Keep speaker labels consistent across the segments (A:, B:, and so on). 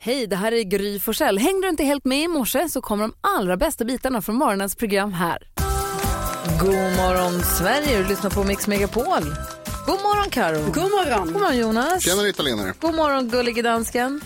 A: Hej, det här är Gry Forssell. Hängde du inte helt med i morse så kommer de allra bästa bitarna från morgonens program här. God morgon Sverige, du lyssnar på Mix Megapol. God morgon Karo. God morgon. God morgon Jonas.
B: Tjenare italienare.
A: God morgon gullige dansken.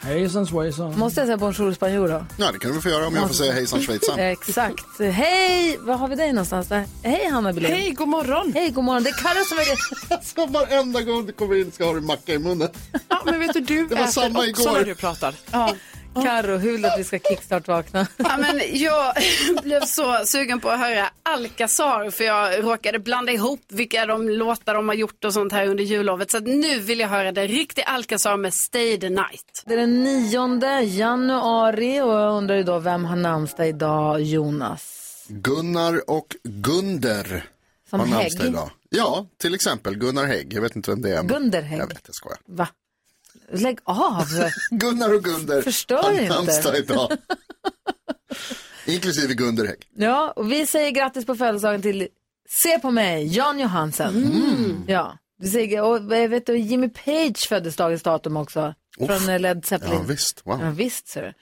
C: Hejsan svejsan.
A: Måste jag säga bonjour spanjor då?
B: Ja, det kan du få göra om jag får säga hejsan schweizan.
A: Exakt. Hej, var har vi dig någonstans? Där? Hej Hanna Billén.
D: Hej, god morgon.
A: Hej, god morgon. Det är Karo som är det.
B: Alltså varenda gång du kommer in ska ha en macka i munnen.
D: Ja, men vet du, du
B: Det var
D: äter
B: samma
D: också
B: igår.
D: när du pratar.
E: Ja.
A: Karo, hur vill du att vi ska kickstart-vakna?
E: Ja, men jag blev så sugen på att höra Alcazar för jag råkade blanda ihop vilka de låtar de har gjort och sånt här under jullovet. Så att nu vill jag höra den riktiga Alcazar med Stay the Night.
A: Det är den 9 januari och jag undrar ju då vem har namnsdag idag, Jonas?
B: Gunnar och Gunder
A: Som
B: har namnsdag
A: Hägg?
B: idag. Ja, till exempel Gunnar Hägg. Jag vet inte vem det är. men-
A: Gunder Hägg.
B: Jag vet, jag skojar.
A: Va? Lägg av!
B: Gunnar och Gunder
A: Förstör
B: har
A: inte.
B: namnsdag idag. Inklusive Gunder Hägg.
A: Ja, och vi säger grattis på födelsedagen till Se på mig, Jan Johansen.
B: Mm.
A: Ja, vi säger, och jag vet du, Jimmy Page föddes dagens datum också. Från eh, Led Zeppelin.
B: Ja, visst.
A: Ja,
B: Wow.
A: visst ser du.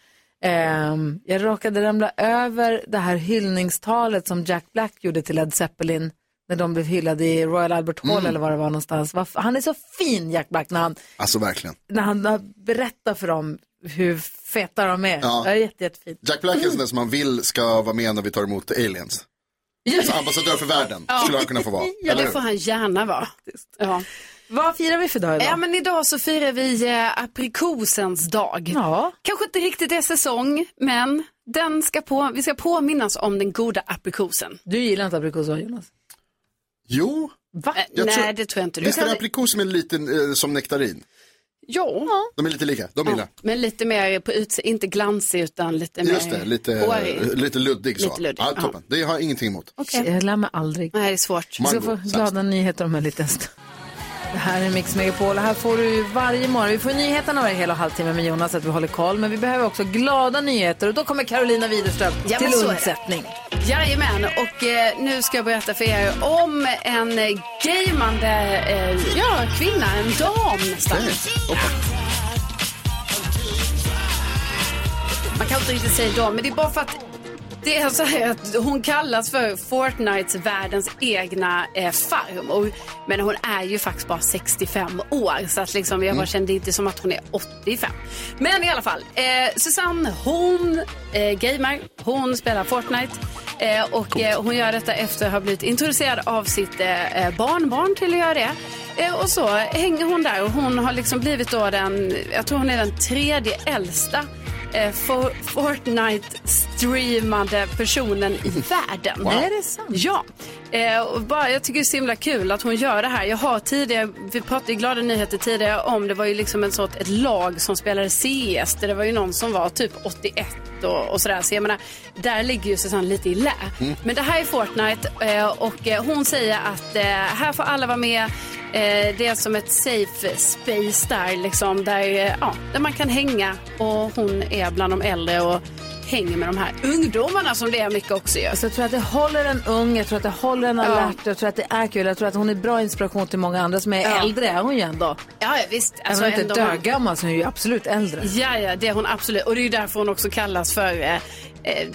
A: Ehm, jag råkade ramla över det här hyllningstalet som Jack Black gjorde till Led Zeppelin när de blev hyllade i Royal Albert Hall
B: Mm.
A: eller var det var någonstans. Vad f- Han är så fin Jack Black när han,
B: Alltså verkligen.
A: när han berättar för dem hur feta de är.
B: Ja.
A: Det är jätte, jättefint.
B: Jack Black är en sån där som man vill ska vara med när vi tar emot aliens. Alltså ambassadör för världen skulle han kunna få vara.
E: Ja,
B: Eller
E: det
B: hur?
E: får han gärna vara. Ja.
A: Vad firar vi för dag idag?
E: ja, men idag så firar vi eh, aprikosens dag.
A: Ja.
E: Kanske inte riktigt är säsong, men den ska på, vi ska påminnas om den goda aprikosen.
A: Du gillar inte aprikosor Jonas?
B: Jo,
A: Va?
E: Eh,
B: Jag
E: nej,
B: tror-
E: det tror jag inte. Du
B: visst är det
E: kan...
B: aprikos som är lite eh, som nektarin?
E: Ja.
B: De är lite lika, de gillar.
E: Men lite mer på utse, inte glansig utan lite mer
B: Just det, lite, eh,
E: hårig.
B: lite luddig så.
E: Lite luddig,
B: ja, toppen. Det har jag ingenting emot.
E: Okej.
A: Jag lär mig aldrig.
E: Nej, det är svårt.
A: Vi
B: Mango,
A: ska få
B: sämst.
A: glada nyheter om en liten stund. Det här är Mix Megapol och här får du ju varje morgon. Vi får nyheterna varje hel och halvtimme med Jonas så att vi håller koll. Men vi behöver också glada nyheter och då kommer Carolina Widerström
E: Ja, men
A: till
E: så är det.
A: undsättning.
E: Jajamän, och eh, nu ska jag berätta för er om en eh, gamande eh, ja, kvinna, en dam nästan.
B: Nej, toppen.
E: Man kan inte riktigt säga dam, men det är bara för att det är så här att hon kallas för Fortnites världens egna eh, farmor. Men hon är ju faktiskt bara 65 år så att liksom jag bara kände inte som att hon är 85. Men i alla fall, eh, Susanne hon eh, gamer, hon spelar Fortnite. Eh, och eh, hon gör detta efter att ha blivit introducerad av sitt eh, eh, barnbarn till att göra det. Eh, och så hänger hon där och hon har liksom blivit då den, jag tror hon är den tredje äldsta eh, For- Fortnite-streamade personen i världen.
A: Är det sant?
E: Ja. Eh, och bara, jag tycker det är så himla kul att hon gör det här. Jag har tidigare, vi pratade i Glada Nyheter tidigare om, det var ju liksom en sort, ett lag som spelade CS där det var ju någon som var typ 81 och, och sådär. Så jag menar, där ligger ju Susanne lite i lä. Men det här är Fortnite eh, och eh, hon säger att eh, här får alla vara med. Eh, det är som ett safe space där liksom, där, eh, ja, där man kan hänga och hon är bland de äldre och hänger med de här ungdomarna som det är mycket också gör.
A: Så jag tror att det håller en ung, jag tror att det håller en alert, jag tror att det är kul, jag tror att hon är bra inspiration till många andra som är
E: Ja.
A: äldre, är hon ju ändå.
E: Ja, ja, visst.
A: Alltså, hon är inte
E: ändå-
A: dögammal så hon är ju absolut äldre.
E: Ja, ja, det är hon absolut. Och det är ju därför hon också kallas för eh, eh,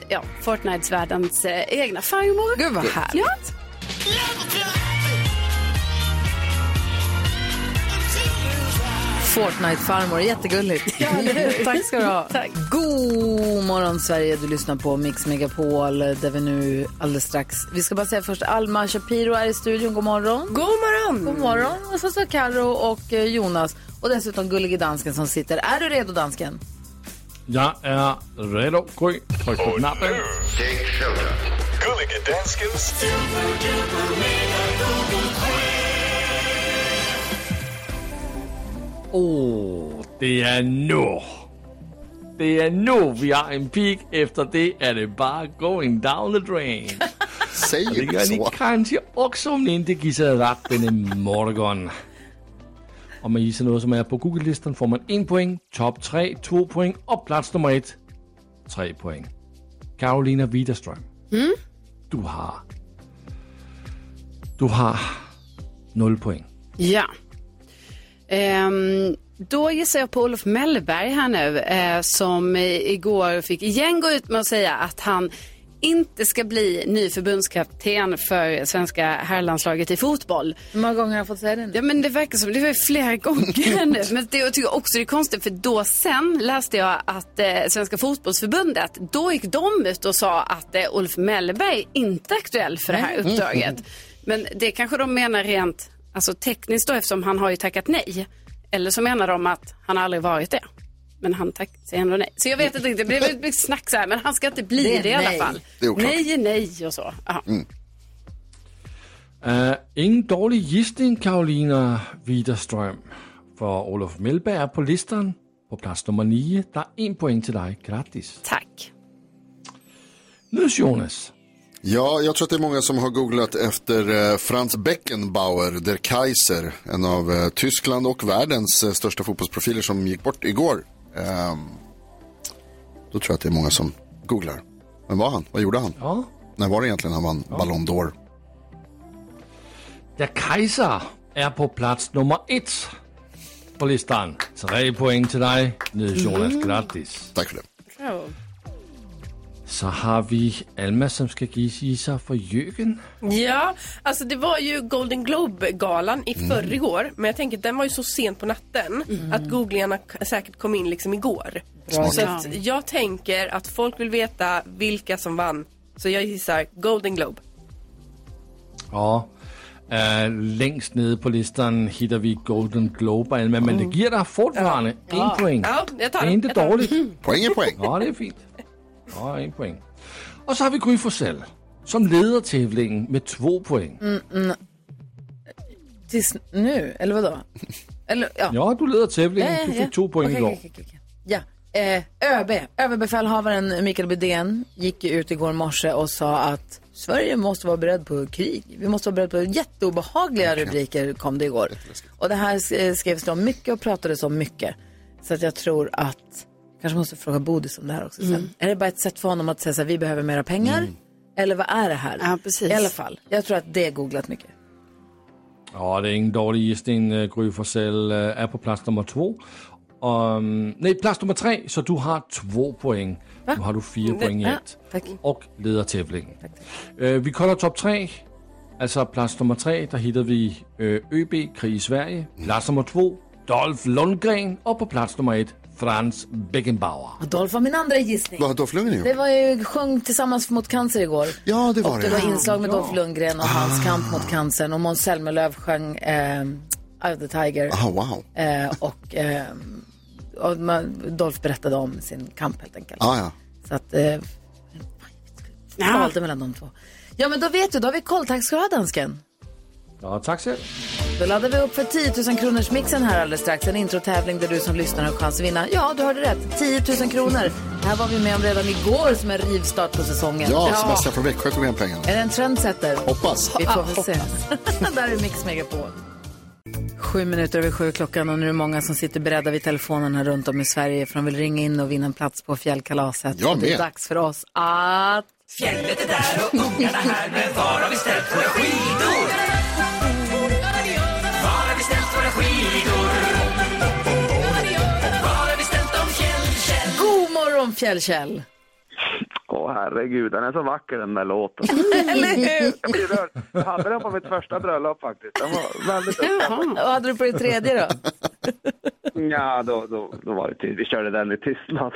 E: ja, Fortnite-världens eh, egna farmor.
A: Gud vad härligt.
E: Ja.
A: Fortnite-farmor, jättegulligt. Tack ska du ha. God morgon Sverige, du lyssnar på Mix Megapol där vi nu alldeles strax, vi ska bara säga först Alma Shapiro är i studion, god morgon. God morgon. God morgon och så så Karo och eh, Jonas och dessutom gullige dansken som sitter. Är du redo dansken?
C: Jag är redo. Gry, tryck på knappen.
F: Gullige danskens
C: Åh, det är nu. Det är nu vi har en peak. Efter det är det bara going down the drain.
B: Säg
C: Det
B: inte
C: gör ni
B: så.
C: kanske också om ni inte gissar rätt denna morgon. Om man gissar något som är på Google-listan får man en poäng, topp tre två poäng och plats nummer ett tre poäng. Carolina Widerström. Du har... Du har noll poäng.
E: ja. Ehm, Då gissar jag på Olof Mellberg här nu eh, som i- igår fick igen gå ut med att säga att han inte ska bli ny förbundskapten för svenska herrlandslaget i fotboll.
A: Hur många gånger har jag fått säga det nu?
E: Ja, men det verkar som det var flera gånger nu. Men det jag tycker också det är konstigt för då sen läste jag att eh, Svenska fotbollsförbundet, då gick de ut och sa att eh, Ulf Mellberg inte är aktuell för det här uppdraget. Men det kanske de menar rent alltså, tekniskt då eftersom han har ju tackat nej. Eller så menar de att han aldrig varit det. Men han tack, säger ändå nej. Så jag vet inte riktigt, det blir mycket snack så här, men han ska inte bli
A: Det
E: det,
A: är
E: i alla
A: nej.
E: fall.
B: Det är oklart.
E: nej, är nej och så. Ja.
C: Uh, ingen dårlig gissning, Karolina Widerström. For Olof Mellberg er på listen på plads nummer 9. Der er en point til dig. Gratis.
E: Tack.
C: Nyds Jonas.
B: Ja, jag tror att det är många som har googlat efter eh, Franz Beckenbauer, der Kaiser, en av eh, Tyskland och världens eh, största fotbollsprofiler som gick bort igår. Ehm, då tror jag att det är många som googlar. Vem var han? Vad gjorde han?
C: Ja.
B: När var det egentligen han vann Ballon d'Or?
C: Der Kaiser er på plads nummer 1 på listen. Tre point til dig. Nyds Jonas. Gratis.
B: Tack för det.
C: Så har vi Alma, som skal give sig for Jørgen.
D: Ja, alltså det var ju Golden Globe-galan i förrgår. Men jag tänker att den var ju så sent på natten att googlingarna k- säkert kom in liksom igår. Så att jag tänker att folk vill veta vilka som vann. Så jag gissar Golden Globe.
C: Og øh, længst nede på listen hitter vi Golden Globe og Alma, men det giver dig fortfarande en point.
D: Mm. Ja, jag tar
C: det er
D: den.
C: ikke
D: Jag tar den.
C: dårligt.
B: Poäng är poäng.
C: Nå, det er fint. Nå, en point. Og så har vi Gry Forssell, som leder tævlingen med to point.
A: Tills nu? Eller vadå? Eller, ja.
C: Ja, du leder tævlingen. Du fik to point i
A: Eh, Okej,
C: går.
A: okej, okej, okej. Ja. Eh, ÖB, överbefälhavaren Mikael Bydén, gick ju ut igår morse och sa att Sverige måste vara beredd på krig. Vi måste vara beredda på jätteobehagliga rubriker, kom det igår. Och det här eh, skrevs det om mycket och pratades om mycket. Så att jag tror att, kanske måste fråga Bodis om det här också sen.
E: Mm.
A: Är det bara ett sätt för honom att säga så här, vi behöver mera pengar? Eller vad är det här?
E: Ja, precis.
A: I alla fall, jag tror att det är googlat mycket.
C: Ja, det er ingen dårlig gissning. Øh, Gry Forssell øh, er på plads nummer to. Og, nej, plads nummer tre, så du har to point. Nu har du fire point i alt.
A: tak.
C: Og leder tævlingen. Øh, vi kolder top tre. Altså plads nummer tre, der hitter vi øh, ØB, krig i Sverige. Plads nummer to, Dolph Lundgren. Og på plads nummer et, Franz Beckenbauer.
A: Och Dolph var min andra gissning.
B: Vad har Dolph Lundgren
A: Det
B: gjort?
A: var ju Sjung tillsammans mot cancer igår.
B: Ja, det Ah. var
A: Och det var
B: det.
A: inslag med Dolph Lundgren och hans kamp mot cancern. Och Måns Zelmerlöw sjöng eh, Eye of the Tiger.
B: Ah, wow.
A: Eh, och, eh, och man- Dolph berättade om sin kamp helt enkelt.
B: Ah, ja.
A: Så att, eh, jag valde mellan de två. Ja men då vet du, då har vi koll. Tack ska du ha dansken.
C: Nå, tak selv.
A: Då laddar vi upp för 10 000 kronors mixen här alldeles strax. En introtävling där du som lyssnar har chans att vinna. Ja, du hörde rätt. 10 000 kronor. Det här var vi med om redan igår som en rivstart på säsongen.
B: ja, Sebastian från Växjö tog hem pengarna.
A: Är det en trendsetter?
B: Hoppas.
A: Vi får väl se. Där är Mix Megapol. Sju minuter över sju klockan och nu är det många som sitter beredda vid telefonerna runt om i Sverige för de vill ringa in och vinna en plats på fjällkalaset.
B: Jag
A: Och det är
B: med.
A: dags för oss att... God morgon Fjällkäll!
G: Åh herregud, den är så vacker den där låten. Jag blir rörd. Jag hade den på mitt första bröllop faktiskt. Den var väldigt uppskattad.
A: Vad hade du på det tredje då?
G: Ja, då, då, då var det tid. Vi körde den i tystnad.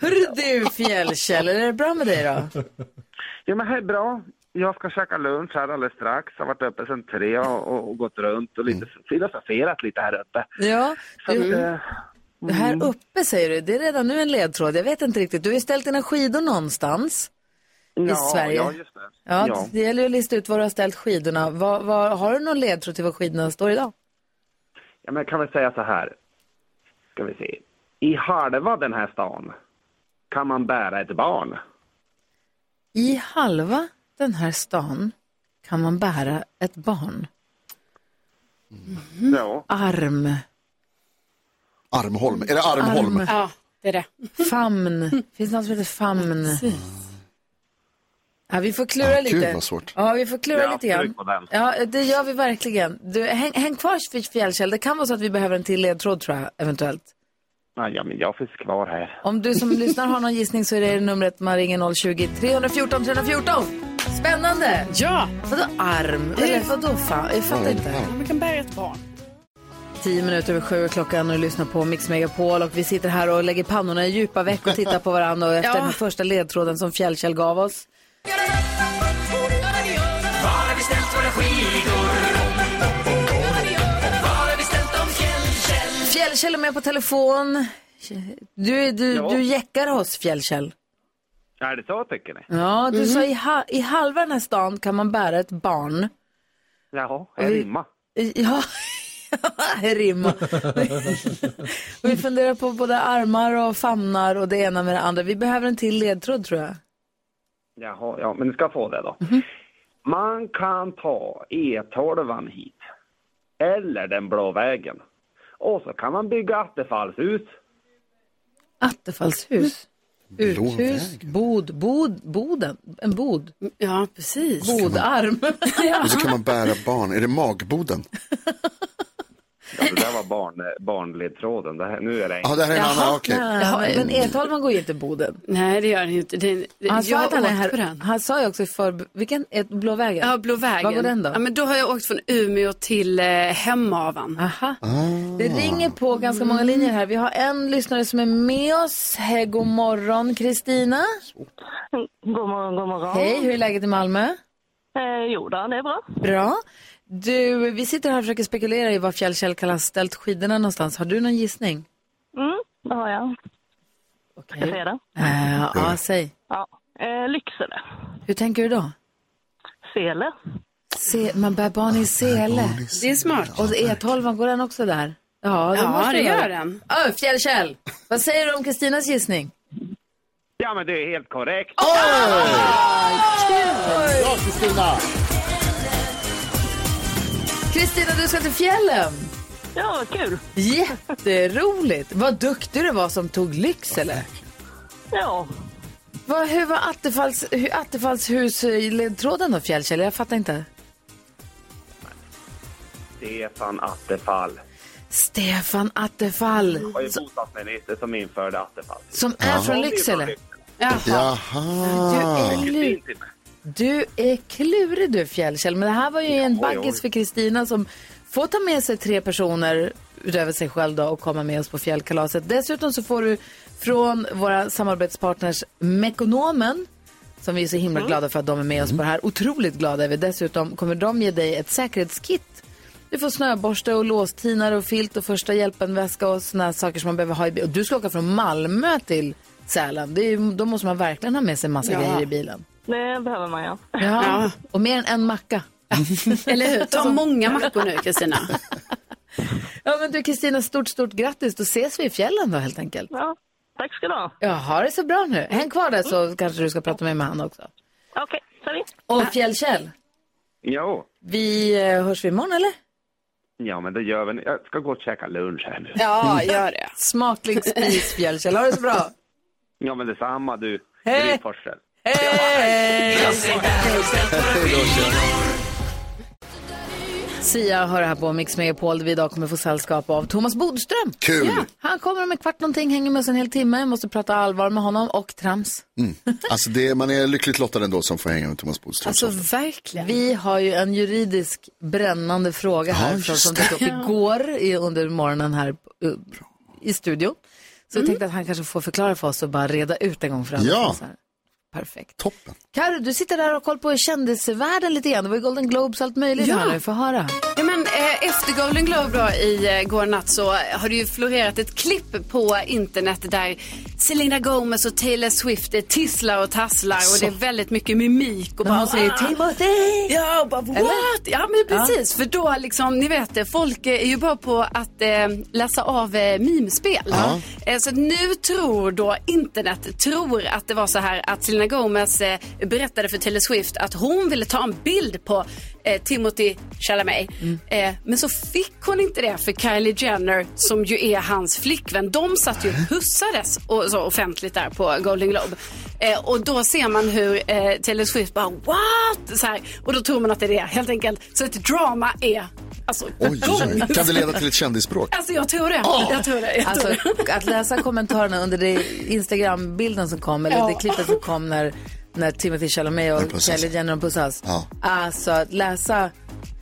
A: Hörru du Fjällkäll, är det bra med dig då?
G: Ja, men hej, bra. Jag ska käka lunch här alldeles strax. Jag har varit uppe sedan tre och, och, och gått runt och lite
A: Mm.
G: filosoferat lite här uppe.
A: Ja,
G: Så att,
A: du,
G: eh,
A: här uppe säger du, det är redan nu en ledtråd. Jag vet inte riktigt, du har ju ställt dina skidor någonstans.
G: ja,
A: Sverige?
G: Ja, just det.
A: Ja,
G: Ja.
A: det gäller ju att lista ut var du har ställt skidorna. Vad- vad- har du någon ledtråd till var skidorna står idag?
G: Ja, men kan vi säga så här. Ska vi se. I halva den här stan kan man bära ett barn.
A: I halva den här stan kan man bära ett barn. Mm.
G: Ja.
A: Arm,
B: Armholm. Är det Armholm?
A: Arm.
E: Ja, det är det.
A: famn. Finns det något som heter famn? Ja, vi får klura
B: Ja,
A: lite.
B: gud, vad svårt.
A: Ja, vi får klura
G: Ja,
A: lite grann.
G: tryck på den.
A: Ja, det gör vi verkligen. Du, häng, häng kvar vid fjällkäll. Det kan vara så att vi behöver en till ledtråd tror jag, eventuellt.
G: Nej, ja, men jag finns kvar här.
A: Om du som lyssnar har någon gissning så är det numret man ringer 020-314 314. Spännande!
E: Ja,
A: Vadå arm? Eller vadå fan? Jag fattar inte.
E: man kan bära ett barn.
A: Tio minuter över sju är klockan och lyssnar på Mix Megapol och vi sitter här och lägger pannorna i djupa veck och tittar på varandra och efter
E: Ja.
A: den första ledtråden som Fjällkäll gav oss. Fjällkäll är med på telefon. Du, du,
G: Ja.
A: du jäckar oss Fjällkäll. Mm-hmm.
G: Är det så tycker ni?
A: Ja, du sa i, ha, i halva den här stan kan man bära ett barn.
G: Jaha, jag rimmar.
A: Ja, rimma. vi funderar på både armar och famnar och det ena med det andra. Vi behöver en till ledtråd tror jag.
G: Jaha, ja, men ni ska få det då. Man kan ta E12 hit, eller den blå vägen. Och så kan man bygga attefallshus.
A: Attefallshus. Uthus, bod, bod, boden, en bod,
E: Ja, precis.
A: bodarm.
B: Och så kan man bära barn. Är det magboden?
G: Ja, det där var barn, barnledtråden. Det här, nu är det
B: Ja, ah, det här är en annan. Okej.
A: Nej, men E12 man går ju inte i boden.
E: Nej, det gör den ju inte. Den,
A: Han
E: jag
A: sa, att han, är
E: åkt på
A: här,
E: den.
A: han sa ju också för, vilken, eh, är Blå vägen?
E: Ja, Blå vägen.
A: Var går den då?
E: Ja, men då har jag åkt från Umeå till eh, Hemavan.
A: Aha. Det ringer på ganska många linjer här. Vi har en lyssnare som är med oss. Hej, god morgon Kristina.
H: God morgon, god morgon.
A: Hej, hur är läget i Malmö?
H: Eh, jo då, det är bra.
A: Bra. Du, vi sitter här och försöker spekulera i var Fjällkäll kan ha ställt skidorna någonstans. Har du någon gissning?
H: Mm, det har jag.
A: Okej.
H: Ska säga det?
A: Eh, ja, säg.
H: Ja. Eh, Lycksele.
A: Hur tänker du då?
H: Sele.
A: Se, man bär barn i sele.
E: Det är smart.
A: Och E12, går den också där? Ja, det
E: Ja,
A: måste
E: det
A: göra.
E: gör den.
A: Ö, Fjällkäll, vad säger du om Kristinas gissning?
G: Ja, men det är helt korrekt.
B: Bra, Kristina!
A: Kristina, du ska till fjällen.
H: Ja, vad kul.
A: Jätteroligt. Vad duktig du var som tog Lycksele.
H: Ja.
A: Vad, hur var Attefalls, hur, Attefallshus i ledtråden då, Fjällkäll? Jag fattar inte.
G: Stefan Attefall
A: Stefan Attefall,
G: var ju bostadsminister som införde Attefall.
A: som är från Lycksele. Du
B: Jaha.
A: är, lu- du är klurig du, Fjällkäll. Men det här var ju en
G: oj.
A: baggis för Kristina som får ta med sig tre personer utöver sig själv då och komma med oss på fjällkalaset. Dessutom så får du från våra samarbetspartners Mekonomen som vi är så himla glada för att de är med oss på det här. Otroligt glada är vi. Dessutom kommer de ge dig ett säkerhetskit. Du får snöborste och låstinare och filt och första hjälpen-väska och såna här saker som man behöver ha i bilen. Du ska åka från Malmö till Sälen. Det är, ju- då måste man verkligen ha med sig massa grejer i bilen.
H: Det behöver man ja.
A: Ja. Och mer än en macka.
E: Eller hur?
A: Alltså-
E: Ta många mackor nu, Kristina.
A: Ja men du Kristina, stort stort grattis. Då ses vi i fjällen då helt enkelt.
H: ja. Tack ska du ha. Mm.
A: Ja, ha det så bra nu. Häng kvar där så kanske du ska prata med mig med han också.
H: Okej, sorry.
A: Och Fjällkäll,
G: Jo,
A: vi eh, hörs vi imorgon eller?
G: ja, men det gör vi. Jag ska gå och käka lunch här nu.
E: Ja, gör det.
A: Smaklig spis Fjällkäll, ha det så bra.
G: Ja, men detsamma du.
A: Hej.
G: Gryforsen.
A: Hej!
B: Hej då, tjena.
A: Sia hör här på Mix Megapol där vi idag kommer få sällskap av Thomas Bodström.
B: Kul.
A: Ja, han kommer om en kvart någonting, hänger med oss en hel timme, måste prata allvar med honom och trams.
B: Alltså det, man är lyckligt lottad ändå som får hänga med Thomas Bodström.
E: Alltså verkligen.
A: Vi har ju en juridisk brännande fråga här
B: Ja,
A: från,
B: just
A: som dök upp igår i, under morgonen här eh, i studion. Så jag
E: Mm.
A: tänkte att han kanske får förklara för oss och bara reda ut en gång för alla.
B: Ja.
A: Så här. Perfekt.
B: Toppen.
A: Karo, du sitter där och har koll på kändisvärlden lite grann. Det var ju Golden Globes och allt möjligt
E: Ja.
A: här nu. Få höra.
E: Ja, men, eh, efter Golden Globe då, i eh, går natt så har det ju florerat ett klipp på internet där Selena Gomez och Taylor Swift eh, tisslar och tasslar och det är väldigt mycket mimik. Och
A: När
E: bara,
A: hon säger
E: "Ah!"
A: Timothy!
E: Ja, och bara what? Ja, men precis. För då liksom, ni vet det, folk eh, är ju bra på att eh, läsa av eh, mimspel. Eh, så nu tror då internet, tror att det var så här att Selena Gomez eh, berättade för Taylor Swift att hon ville ta en bild på eh, eh, Timothy Chalamet. Eh, men så fick hon inte det för Kylie Jenner, som ju är hans flickvän, de satt ju och pussades och, så offentligt där på Golden Globe. Eh, och då ser man hur eh, Taylor Swift bara what? Så här, och då tror man att det är det helt enkelt. Så ett drama är alltså
B: Oj, oj, oj. Kan det leda till ett kändisspråk?
E: Alltså jag tror det. Jag tror det. Jag tror
A: Alltså,
E: det.
A: att läsa kommentarerna under det Instagram-bilden som kom, eller
E: Ja.
A: det klippet som kom när, när Timothy Chalamet
B: När
A: och
B: pussas.
A: Kylie Jenner pussas.
B: Ja.
A: Alltså, att läsa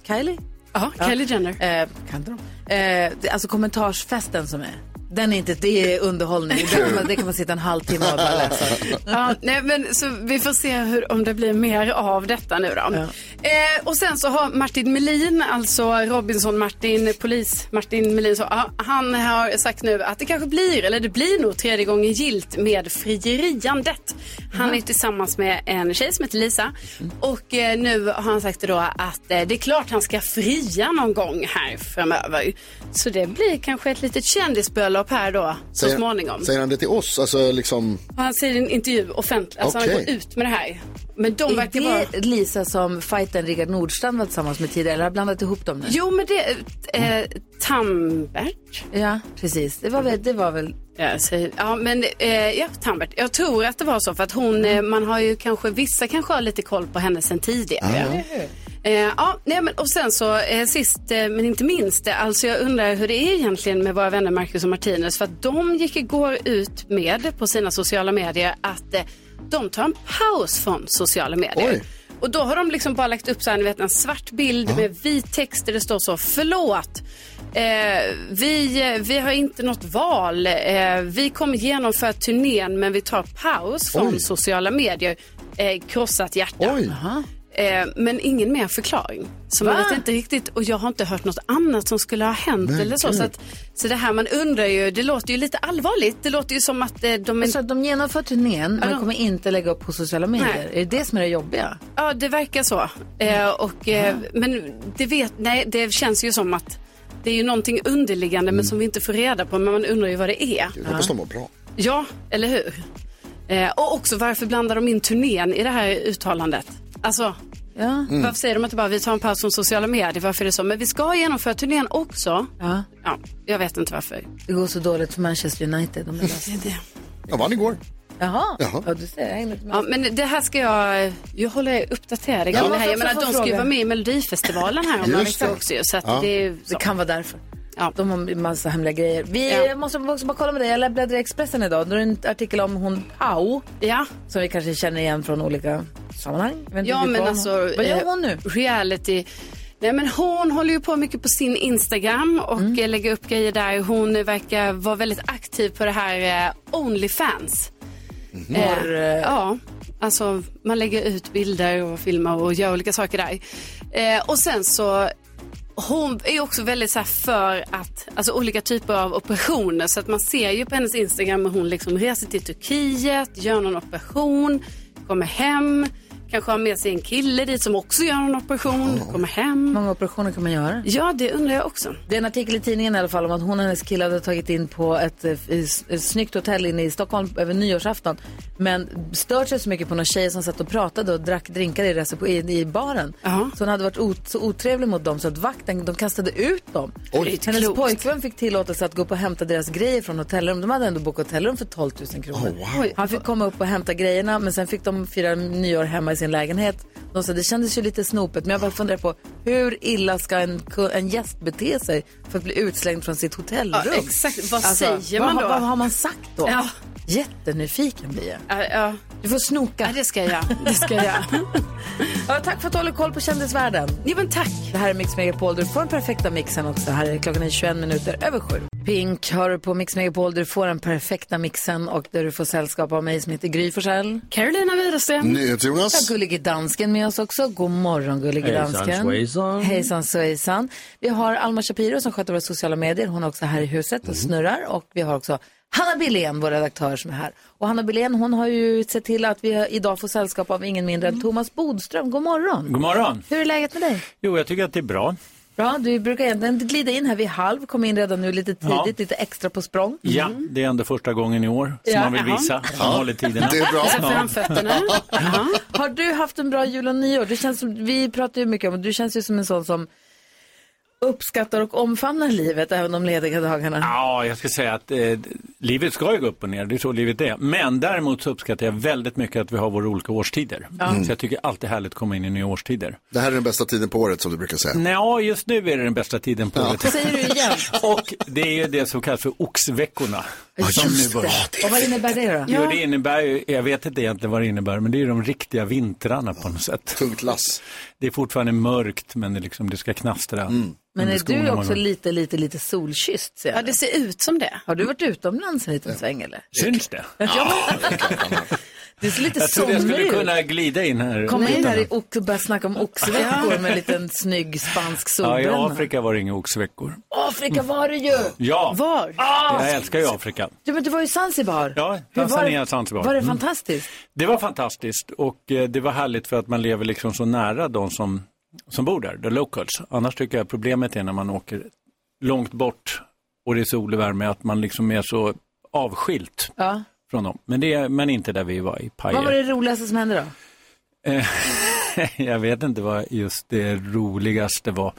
A: Kylie,
E: Ja, Kylie Jenner.
A: eh, kan inte de? Eh, det- alltså kommentarsfesten som är. Den är inte, det är underhållning. Det kan man, det kan man sitta en halvtimme och bara läsa.
E: Ja, nej, men, så vi får se hur, om det blir mer av detta nu då. Eh, och sen så har Martin Melin, alltså Robinson-Martin, polis Martin Melin, så, ja, han har sagt nu att det kanske blir, eller det blir nog tredje gången gilt med frieriandet. Han är tillsammans med en tjej som heter Lisa och eh, nu har han sagt då att eh, det är klart han ska fria någon gång här framöver. Så det blir kanske ett litet kändisbröllop här då så småningom.
B: Säger han det till oss? Alltså liksom,
E: Och Han säger i en intervju offentligt, alltså han
B: Okej.
E: går ut med det här. Men de
A: Är
E: verkar vara...
A: det Lisa som fighten Rickard Nordstrand var tillsammans med tidigare, eller har jag blandat ihop dem nu?
E: Jo, men det... Eh, Tambert?
A: Ja, precis. Det var väl, det var väl
E: Ja, säger, ja, men eh, ja, Tambert. Jag tror att det var så för att hon, eh, man har ju kanske, vissa kanske har lite koll på henne sen tidigare. Eh, ja, nej, men, och sen så eh, sist eh, men inte minst, eh, alltså jag undrar hur det är egentligen med våra vänner Marcus och Martinus för att de gick igår ut med på sina sociala medier att eh, de tar en paus från sociala medier.
B: Oj.
E: Och då har de liksom bara lagt upp så här, ni vet, en svart bild med vit text där det står så, förlåt. Eh, vi, eh, vi har inte något val. Eh, vi kommer genomföra turnén men vi tar paus från
B: Oj.
E: sociala medier. Eh, krossat hjärta.
B: oj.
E: Eh, men ingen mer förklaring. Så man vet inte riktigt och jag har inte hört något annat som skulle ha hänt
B: Men
E: eller så.
B: gud.
E: Så, att, så det här man undrar ju, det låter ju lite allvarligt. Det låter ju som att eh, de
A: Men
E: inte,
A: så att Alltså, de genomför turnén men kommer inte lägga upp på sociala medier?
E: Nej.
A: Är det det som är det jobbiga?
E: ja det verkar så. Eh, och, eh, men det vet, nej det känns ju som att det är ju någonting underliggande men som vi inte får reda på. Men man undrar ju vad det är.
B: Jag hoppas de mår bra.
E: Ja, eller hur? Eh, och också varför blandar de in turnén i det här uttalandet? Alltså,
A: Ja.
E: varför säger de inte bara vi tar en paus från sociala medier? Varför är det så? Men vi ska genomföra turnén också.
A: ja.
E: Ja, jag vet inte varför.
A: Det går så dåligt för Manchester United. De är lösa.
B: Jag vann igår.
A: Jaha.
B: Jaha.
A: Ja, du ser. Jag hänger inte med.
E: Ja, men det här ska jag, jag håller uppdaterad
A: Ja,
E: ja, det
A: varför
E: här. Jag menar,
A: får
E: de ska ju
A: fråga?
E: vara med i Melodifestivalen här om några
B: Just det.
E: veckor också ju, Så att
B: Ja.
E: det är ju så.
A: Det kan vara därför.
E: Ja.
A: De har en massa hemliga grejer. Vi
E: Ja.
A: jag måste också bara kolla med dig. Jag bläddrade i Expressen idag. Då är det en artikel om hon Pau,
E: Ja,
A: som vi kanske känner igen från olika sammanhang. Jag vet inte
E: ja
A: riktigt
E: men
A: vad hon-
E: alltså.
A: Vad gör
E: eh,
A: hon nu?
E: Reality. Nej, men hon håller ju på mycket på sin Instagram och
A: Mm.
E: eh, lägger upp grejer där. Hon eh, verkar vara väldigt aktiv på det här eh, Onlyfans.
B: Mm.
A: Har, eh,
E: Ja, alltså man lägger ut bilder och filmar och gör olika saker där. Eh, och sen så, hon är ju också väldigt så här för att, alltså olika typer av operationer. Så att man ser ju på hennes Instagram hur hon liksom reser till Turkiet, gör någon operation, kommer hem, kanske har med sig en kille dit som också gör någon operation, kommer hem.
A: många operationer kan man göra?
E: Ja, det undrar jag också.
A: Det är en artikel i tidningen i alla fall om att hon och hennes kille hade tagit in på ett, eh, s- ett snyggt hotell inne i Stockholm över nyårsafton. Men stört sig så mycket på några tjejer som satt och pratade och drack drinkar i, recep- i, i baren.
E: Ja.
A: Så hon hade varit ot- så otrevlig mot dem så att vakten, de kastade ut dem.
E: Det är inte
A: Hennes
E: klokt.
A: pojkvän fick tillåtelse att gå upp och hämta deras grejer från hotellrum. De hade ändå bokat hotellrum för 12 000 kronor.
B: wow.
A: Han fick komma upp och hämta grejerna men sen fick de fira nyår hemma i sin lägenhet. De sa det kändes ju lite snopet men jag bara funderar på hur illa ska en, ku- en gäst bete sig för att bli utslängd från sitt hotellrum? Alltså,
E: Ja, exakt. Alltså, Vad säger
A: vad,
E: man
A: har-
E: då?
A: Vad har man sagt då?
E: Ja.
A: Jättenyfiken blir jag.
E: Ja, ja.
A: Du får snoka.
E: ja det ska jag göra. Det ska jag göra.
A: Ja, tack för att du håller koll på kändisvärlden.
E: ja, men tack.
A: Det här är Mix Megapol. Du får den perfekta mixen också. Här är klockan är 21 minuter över sju. Pink hör du på Mix Megapol. Du får den perfekta mixen och där du får sällskap av mig som heter Gry Forssell.
E: Carolina Widerström.
A: Vi
B: NyhetsJonas.
A: har gullige dansken med oss också. God morgon gullige
C: Hejsan,
A: dansken.
C: svejsan.
A: Hejsan svejsan. Vi har Alma Shapiro som sköter våra sociala medier. Hon är också här i huset
C: Mhm.
A: och snurrar. Och vi har också Hanna Billén, vår redaktör som är här. Och Hanna Billén hon har ju sett till att vi har- idag får
C: Mm.
A: sällskap av ingen mindre än Thomas Bodström. God morgon.
I: God morgon!
A: Hur är läget med dig?
I: Jo, jag tycker att det är bra.
A: Bra, du brukar egentligen glida in här vid halv, kom in redan nu lite tidigt,
I: Ja.
A: lite extra på språng.
I: Ja, Mm. det är ändå första gången i år som
A: Ja,
I: man vill
E: jaha.
I: visa att man håller tiderna.
B: Det är bra.
E: Visa framfötterna. Jaha.
A: Har du haft en bra jul och nyår? Du känns som, vi pratar ju mycket om, du känns ju som en sån som uppskattar och omfamnar livet även de lediga dagarna.
I: Ja, jag ska säga att eh, livet ska ju gå upp och ner, det är så livet är. Men däremot så uppskattar jag väldigt mycket att vi har våra olika årstider. Så jag tycker alltid det är härligt att komma in i nya årstider.
B: Det här är den bästa tiden på året som du brukar säga.
I: Nej, just nu är det den bästa tiden på året.
A: Säger du igen?
I: Och det är ju det som kallas för oxveckorna. som nu
A: Just det.
I: börjar.
A: Och vad innebär det då?
I: Jo, det innebär ju, jag vet inte egentligen vad det innebär, men det är ju de riktiga vintrarna på något sätt.
B: Tungt lass.
I: Det är fortfarande mörkt, men det, är liksom, det ska knastra.
A: Men är
I: skorna
A: du
I: många
A: också
I: gånger.
A: lite, lite, lite solkysst? Ser
E: Ja,
A: jag.
E: det ser ut som det.
A: Har du varit utomlands en liten sväng eller?
I: Syns det?
A: Du ser lite
I: Jag trodde jag skulle
A: somrig ut.
I: kunna glida in här.
A: Komma in
I: utan
A: här i
I: att-
A: och börja snacka om oxveckor med en liten snygg spansk
I: Ja, i
A: solbränna.
I: Afrika var det inga oxveckor.
A: Afrika var du ju!
I: Ja,
E: Var?
I: jag älskar ju Afrika.
A: Du, men du var ju i Zanzibar.
I: Ja,
A: Hur
I: Tanzania,
A: var det-
I: Zanzibar.
A: Var det
I: Mm.
A: fantastiskt?
I: Det var fantastiskt och eh, det var härligt för att man lever liksom så nära de som, som bor där, the locals. Annars tycker jag problemet är när man åker långt bort och det är sol och värme, att man liksom är så avskilt
A: Ja.
I: från dem. Men, det är, men inte där vi var i
A: Vad var det
I: Pajer.
A: roligaste som hände då?
I: jag vet inte vad just det roligaste var.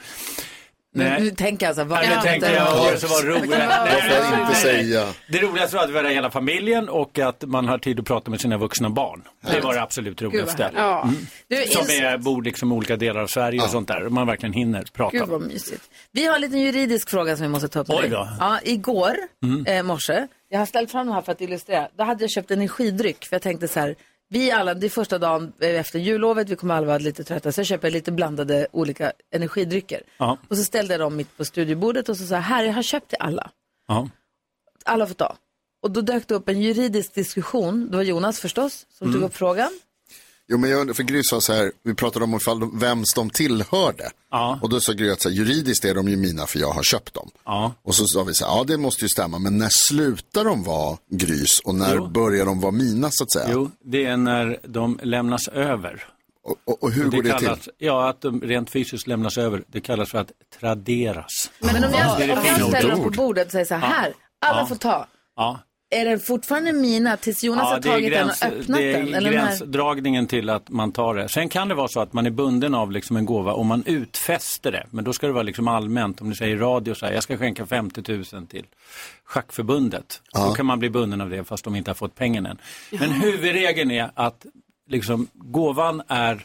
A: Nu, nu
I: Nej,
A: tänker jag så här, vad
I: Nej, nu
A: hände?
I: tänkte jag vad det som var roligt. Nej,
B: Jag får inte säga.
I: Det roligaste var att vara hela familjen och att man har tid att prata med sina vuxna barn. Det var det absolut roligaste.
E: Ja.
A: Du,
I: Som
A: ins-
I: är, bor liksom i olika delar av Sverige och sånt där. Man verkligen hinner prata.
A: Gud vad mysigt. Vi har en liten juridisk fråga som vi måste ta upp med
I: Oj
A: dig.
I: då. Mm.
A: Ja, igår eh, morse, jag har ställt fram den här för att illustrera. Då hade jag köpt energidryck för jag tänkte så här, vi alla, det är första dagen eh, efter jullovet, vi kommer alla vara lite trötta, så jag köper lite blandade olika energidrycker.
I: Ja.
A: Och så ställde jag dem mitt på studiebordet och så sa jag, här, jag har köpt till alla.
I: Ja.
A: alla får ta. Och då dök det upp en juridisk diskussion, det var Jonas förstås, som tog
I: Mm.
A: upp frågan.
B: Jo, men jag undrar, för Gry sa så här, vi pratade om ifall de, vems de tillhörde.
I: Ja.
B: Och då sa Gry att så här, juridiskt är de ju mina för jag har köpt dem.
I: Ja.
B: Och så sa vi så här, ja det måste ju stämma, men när slutar de vara Grys och när börjar de vara mina så att säga?
I: Jo, det är när de lämnas över.
B: Och, och, och hur går det
I: kallas,
B: till?
I: Ja, att de rent fysiskt lämnas över. Det kallas för att traderas.
A: Men om jag,
I: Det är det
A: om
I: fina
A: jag ställer dem på
B: ordet.
A: bordet och säger så här, här alla får ta.
I: Ja.
A: Är den fortfarande mina tills Jonas
I: Ja,
A: har
I: det är,
A: tagit
I: gräns,
A: den och öppnat
I: det
A: den?
I: är
A: Eller när...
I: gränsdragningen till att man tar det. Sen kan det vara så att man är bunden av liksom en gåva om man utfäster det. Men då ska det vara liksom allmänt. Om du säger i radio så här, jag ska skänka 50 000 till schackförbundet. Då kan man bli bunden av det fast de inte har fått pengarna än. Men huvudregeln är att liksom, gåvan är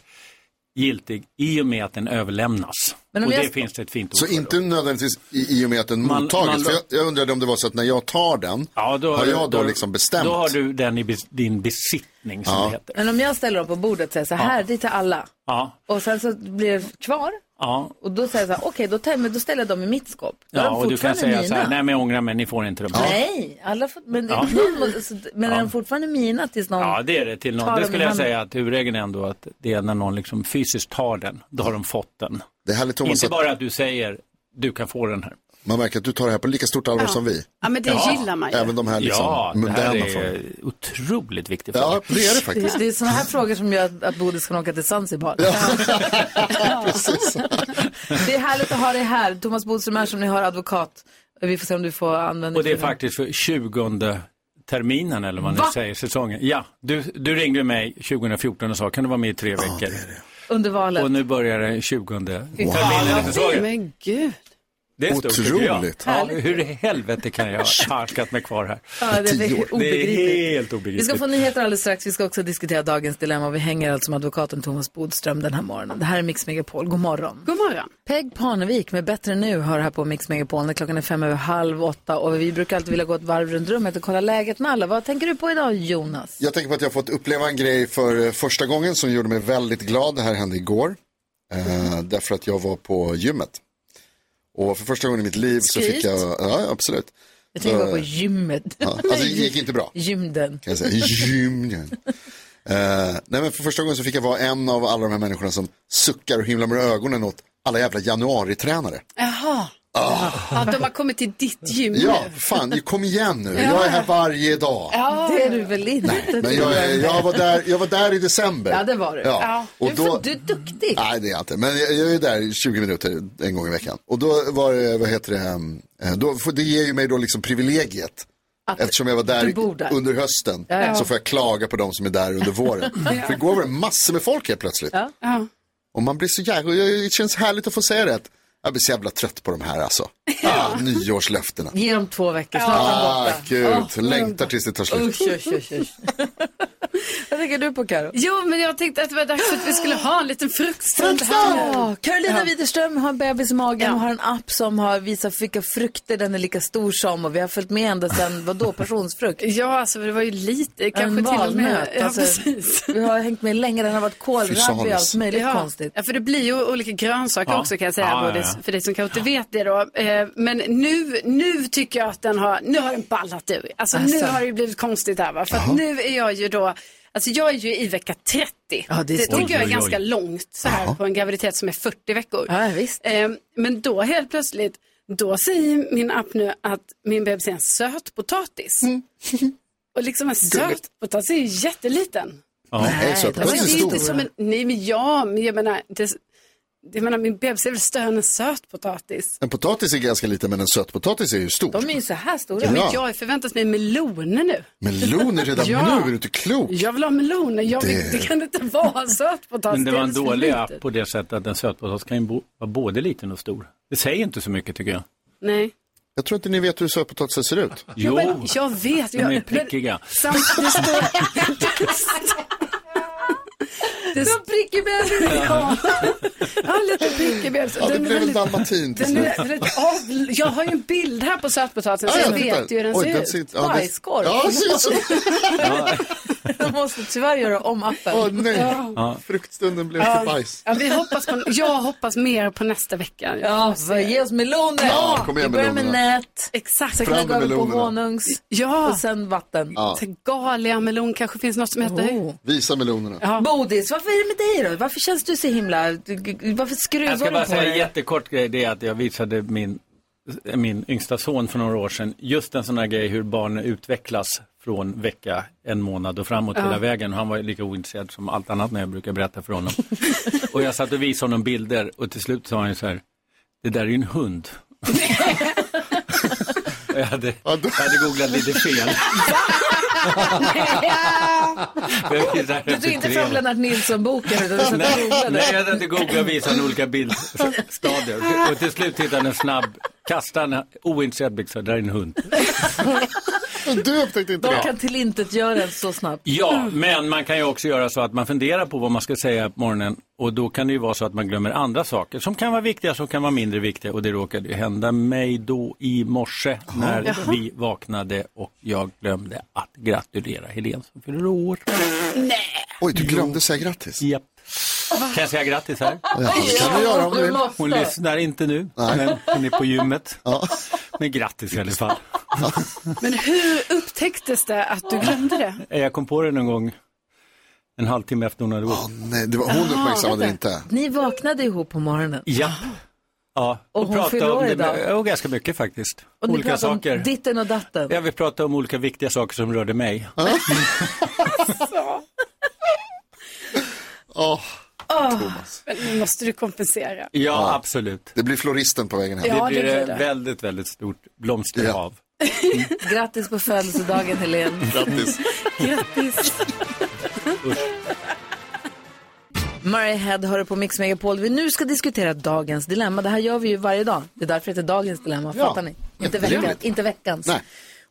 I: giltig i och med att den överlämnas.
A: Men om
I: och det
A: jag-
I: finns det ett fint ord
B: Så
I: för då.
B: inte nödvändigtvis i, i och med att den
I: Man-
B: mottagits.
I: man-
B: för jag, jag undrade om det var så att när jag tar den,
I: Ja, då,
B: har jag då, liksom bestämt?
I: Då har du den i bes- din besittning som
B: Ja.
I: det heter.
A: Men om jag ställer dem på bordet och säger så här, det är till alla.
I: Ja,
A: Och sen så blir det kvar.
I: ja.
A: Och då säger jag så här, okej, då, tar- men då ställer jag dem i mitt skåp. Då är
I: Ja,
A: de
I: och du kan
A: fortfarande
I: säga
A: mina.
I: så här, nej men jag ångrar mig, ni får inte dem. Ja,
A: Nej, alla får, men, det- någon måste- så- men är de fortfarande mina tills någon...
I: ja det är det till
A: Ta
I: någon. Det
A: dem i
I: skulle jag
A: handen.
I: säga att huvudregeln är ändå att det är när någon liksom fysiskt tar den, då har de fått den.
B: Det är härligt Thomas,
I: Inte
B: att
I: bara att du säger, du kan få den här.
B: man märker att du tar det här på lika stort allvar som vi.
E: Ja, men det gillar man ju.
B: Även de här liksom,
I: ja, det här
B: mundana
I: är
B: frågorna.
I: otroligt viktigt.
B: Ja, det är det faktiskt.
A: Det, det är såna här frågor som gör att- att Bodis kan åka till Zanzibar. det är härligt att ha dig här. Thomas Bodström är som ni hör advokat. Vi får se om du får använda
I: Och det är
A: för den.
I: faktiskt för 20 terminen eller vad man
A: Va?
I: nu säger, säsongen. Ja, du, du ringde mig 2014 och sa, kan du vara med i tre veckor?
A: Under valet.
I: Och nu börjar det 20 terminen i säsongen.
E: Men gud.
I: Det är stort tycker jag.
B: Otroligt.
I: Ja, hur i helvete kan jag ha harkat mig kvar här?
A: Ja, det
B: tio
A: är
B: år.
A: obegripligt.
I: helt
A: Vi
I: obegripligt.
A: ska få nyheter alldeles strax. Vi ska också diskutera dagens dilemma. Vi hänger alltså med advokaten Thomas Bodström den här morgonen. Det här är Mix Megapol. God morgon.
E: God morgon.
A: Peg Parnevik med Bättre nu hör här på Mix Megapol när klockan är fem över halv åtta och vi brukar alltid vilja gå ett varv runt rummet och kolla läget med alla. Vad tänker du på idag Jonas?
B: Jag tänker på att jag har fått uppleva en grej för eh, första gången som gjorde mig väldigt glad. Det här hände igår. Eh, därför att jag var på gymmet. Och för första gången i mitt liv så fick
E: Skryt.
B: jag, ja absolut.
A: Jag tänker bara på gymmet.
B: Ja, alltså det gick inte bra.
A: Gymden.
B: Kan jag säga. Gymmen. Eh, nej men för första gången så fick jag vara en av alla de här människorna som suckar och himlar med ögonen åt alla jävla januaritränare. Ah.
E: Jaha. Ja, de har kommit till ditt gym
B: Ja,
E: nu.
B: fan, kom igen nu. Jag är här varje dag.
E: Ja.
A: Det är du väl inte?
B: Men jag, är- jag, var, där, jag var där i december.
A: Ja, det var du.
B: Ja. Och
A: Du,
B: då,
A: du är duktig.
B: nej, det är jag inte. Men jag, jag är där i 20 minuter en gång i veckan. Och då var det, vad heter det, eh, då, för det ger ju mig då liksom privilegiet. Eftersom jag var
A: du
B: där,
A: bor där.
B: under hösten så får jag klaga på de som är där under våren. För igår var det massor med folk helt plötsligt.
E: Ja.
B: Och man blir så jäkla, det känns härligt att få säga det. att Jag blir så jävla trött på de här alltså. Ah, nyårslöftena.
A: Ge dem två veckor, snart är de
B: Ah,
A: borta.
B: gud. Längtar tills det tar slut.
A: Usch, usch, usch, usch. Vad tänker du på Karo?
E: Jo, men jag tänkte att det var dags för att vi skulle ha en liten fruktstund här.
A: Ja, Carolina Widerström har en bebis i magen och har en app som har visat vilka frukter den är lika stor som och vi har följt med ända sedan, vadå, passionsfrukt?
E: Ja, alltså det var ju lite, kanske
A: en
E: till och med.
A: valnöt,
E: Ja,
A: alltså.
E: precis.
A: Vi har hängt med länge, den har varit kålrabi och
B: Fysalis.
A: allt möjligt
E: Ja.
A: konstigt.
E: ja, för det blir ju olika grönsaker
I: Ja.
E: också kan jag säga,
I: Ja, ja,
E: både
I: ja.
E: för dig som kanske inte vet det då. Eh, Men nu, nu tycker jag att den har, nu har den ballat ur. Alltså,
A: Alltså.
E: nu har det ju blivit konstigt här va, för att nu är jag ju då, alltså jag är ju i vecka 30.
A: Ja, det är stort.
E: tycker jag
I: Oj, oj,
E: är
I: oj.
E: ganska långt så här på en graviditet som är 40 veckor.
A: Ja, visst.
E: Eh, Men då helt plötsligt, då säger min app nu att min bebis är en sötpotatis.
B: Mm.
E: Och liksom en sötpotatis är ju jätteliten.
B: Nej, så
A: Nej,
E: Men det
A: Den är
E: är ju
B: stor.
E: inte som en, nej men ja, men jag menar, det, jag menar min bebis är väl större än en sötpotatis.
B: En potatis är ganska liten, men en sötpotatis är ju stor.
A: De är ju så här stora.
B: Ja.
E: Men jag förväntas mig meloner nu.
B: Meloner redan
E: Ja.
B: nu, är du inte klok?
E: Jag vill ha meloner, jag vill,
B: Det-
E: det... kan inte vara sötpotatis.
I: Men det var en
E: är så
I: dålig
E: litet.
I: app på det sättet att en sötpotatis kan ju bo- vara både liten och stor. Det säger inte så mycket tycker jag.
E: Nej.
B: Jag tror inte ni vet hur sötpotatisar ser ut.
I: Jo,
E: Men jag vet.
I: de är
E: jag, men-
I: prickiga.
E: Samt, det står... det står prickig bebis. Ja, ja lite prickig bebis.
B: Ja, det
E: Den är
B: blev en
E: väldigt-
B: dalmatin till
E: den
B: slut.
E: är väldigt avl- Jag har ju en bild här på sötpotatisen
B: Ja,
E: så jag
B: ja, titta.
E: vet ju hur den
B: Oj,
E: ser ut.
B: ja, den-
A: Bajskorv.
B: Ja, precis.
A: De måste tyvärr göra om appen.
B: Åh, nej. Fruktstunden blev till bajs.
E: Ja, vi hoppas på, jag hoppas mer på nästa vecka.
A: Ja, vad- ge oss meloner.
B: Ja, kom igen,
A: vi börjar med
B: melonerna.
A: nät.
E: Exakt.
A: Sen
B: Fram med
A: knäcker vi på
B: melonerna.
A: honungs
E: Ja,
A: och sen vatten.
B: Ja,
E: så galia melon kanske finns något som heter.
A: Oh.
B: visa melonerna.
E: Ja.
A: Bodis, varför är det med dig då? Varför känns du så himla... du- du- Varför skruvar
I: Jag
A: du
I: ska bara
A: på
I: säga en
A: dig?
I: jättekort grej, det är att jag visade min, min yngsta son för några år sedan, just en sån här grej hur barn utvecklas från vecka, en månad och framåt hela vägen. Han var ju lika ointresserad som allt annat när jag brukar berätta för honom. och jag satt och visade honom bilder och till slut sa han ju så här, det där är ju en hund. Och jag, hade, jag hade googlat lite fel.
A: Du tog inte fram Lennart Nilsson-boken utan du satt och
I: Nej, nej,
A: googlade.
I: jag hade inte googlat och visat honom olika bildstadier. Och till slut hittade han en snabb, kastade han ointresserad blick, så där är en hund.
B: Du upptäckte inte
A: De
B: det.
A: kan tillintetgöra en så snabbt.
I: Ja, men man kan ju också göra så att man funderar på vad man ska säga på morgonen och då kan det ju vara så att man glömmer andra saker som kan vara viktiga, som kan vara mindre viktiga och det råkade ju hända mig då i morse när vi vaknade och jag glömde att gratulera Helene som fyller år.
B: Oj, du glömde säga grattis.
I: Japp. Kan jag säga grattis här?
B: Ja, det kan du göra om du
A: Du
B: vill.
A: måste.
I: Hon lyssnar inte nu, men hon är på gymmet. Men grattis i alla fall.
E: Men hur upptäcktes det att du glömde det?
I: Eh, Jag kom på det någon gång en halvtimme efter hon hade gått.
B: Åh, nej, det var, hon uppmärksammade det inte.
A: Ni vaknade ihop på morgonen.
I: Ja. Ja,
A: Och hon fyller år
I: om
A: idag.
I: det, och ganska mycket faktiskt.
A: Och ni
I: olika
A: pratade om
I: saker.
A: ditten och datten.
I: Jag vill prata om olika viktiga saker som rörde mig.
B: Åh,
E: Men nu måste du kompensera.
I: Ja, absolut.
B: det blir floristen på vägen hem.
E: Ja,
I: det blir
E: det blir
I: ett
E: det.
I: väldigt, väldigt stort blomsterhav.
A: Grattis på födelsedagen, Helene.
B: Grattis.
A: Murray Head hör du på Mix Megapol. Vi nu ska diskutera dagens dilemma. Det här gör vi ju varje dag. Det är därför det heter dagens dilemma,
B: Ja.
A: fattar ni? Inte,
B: Jättetrevligt.
A: veckan, inte veckans.
B: Nej.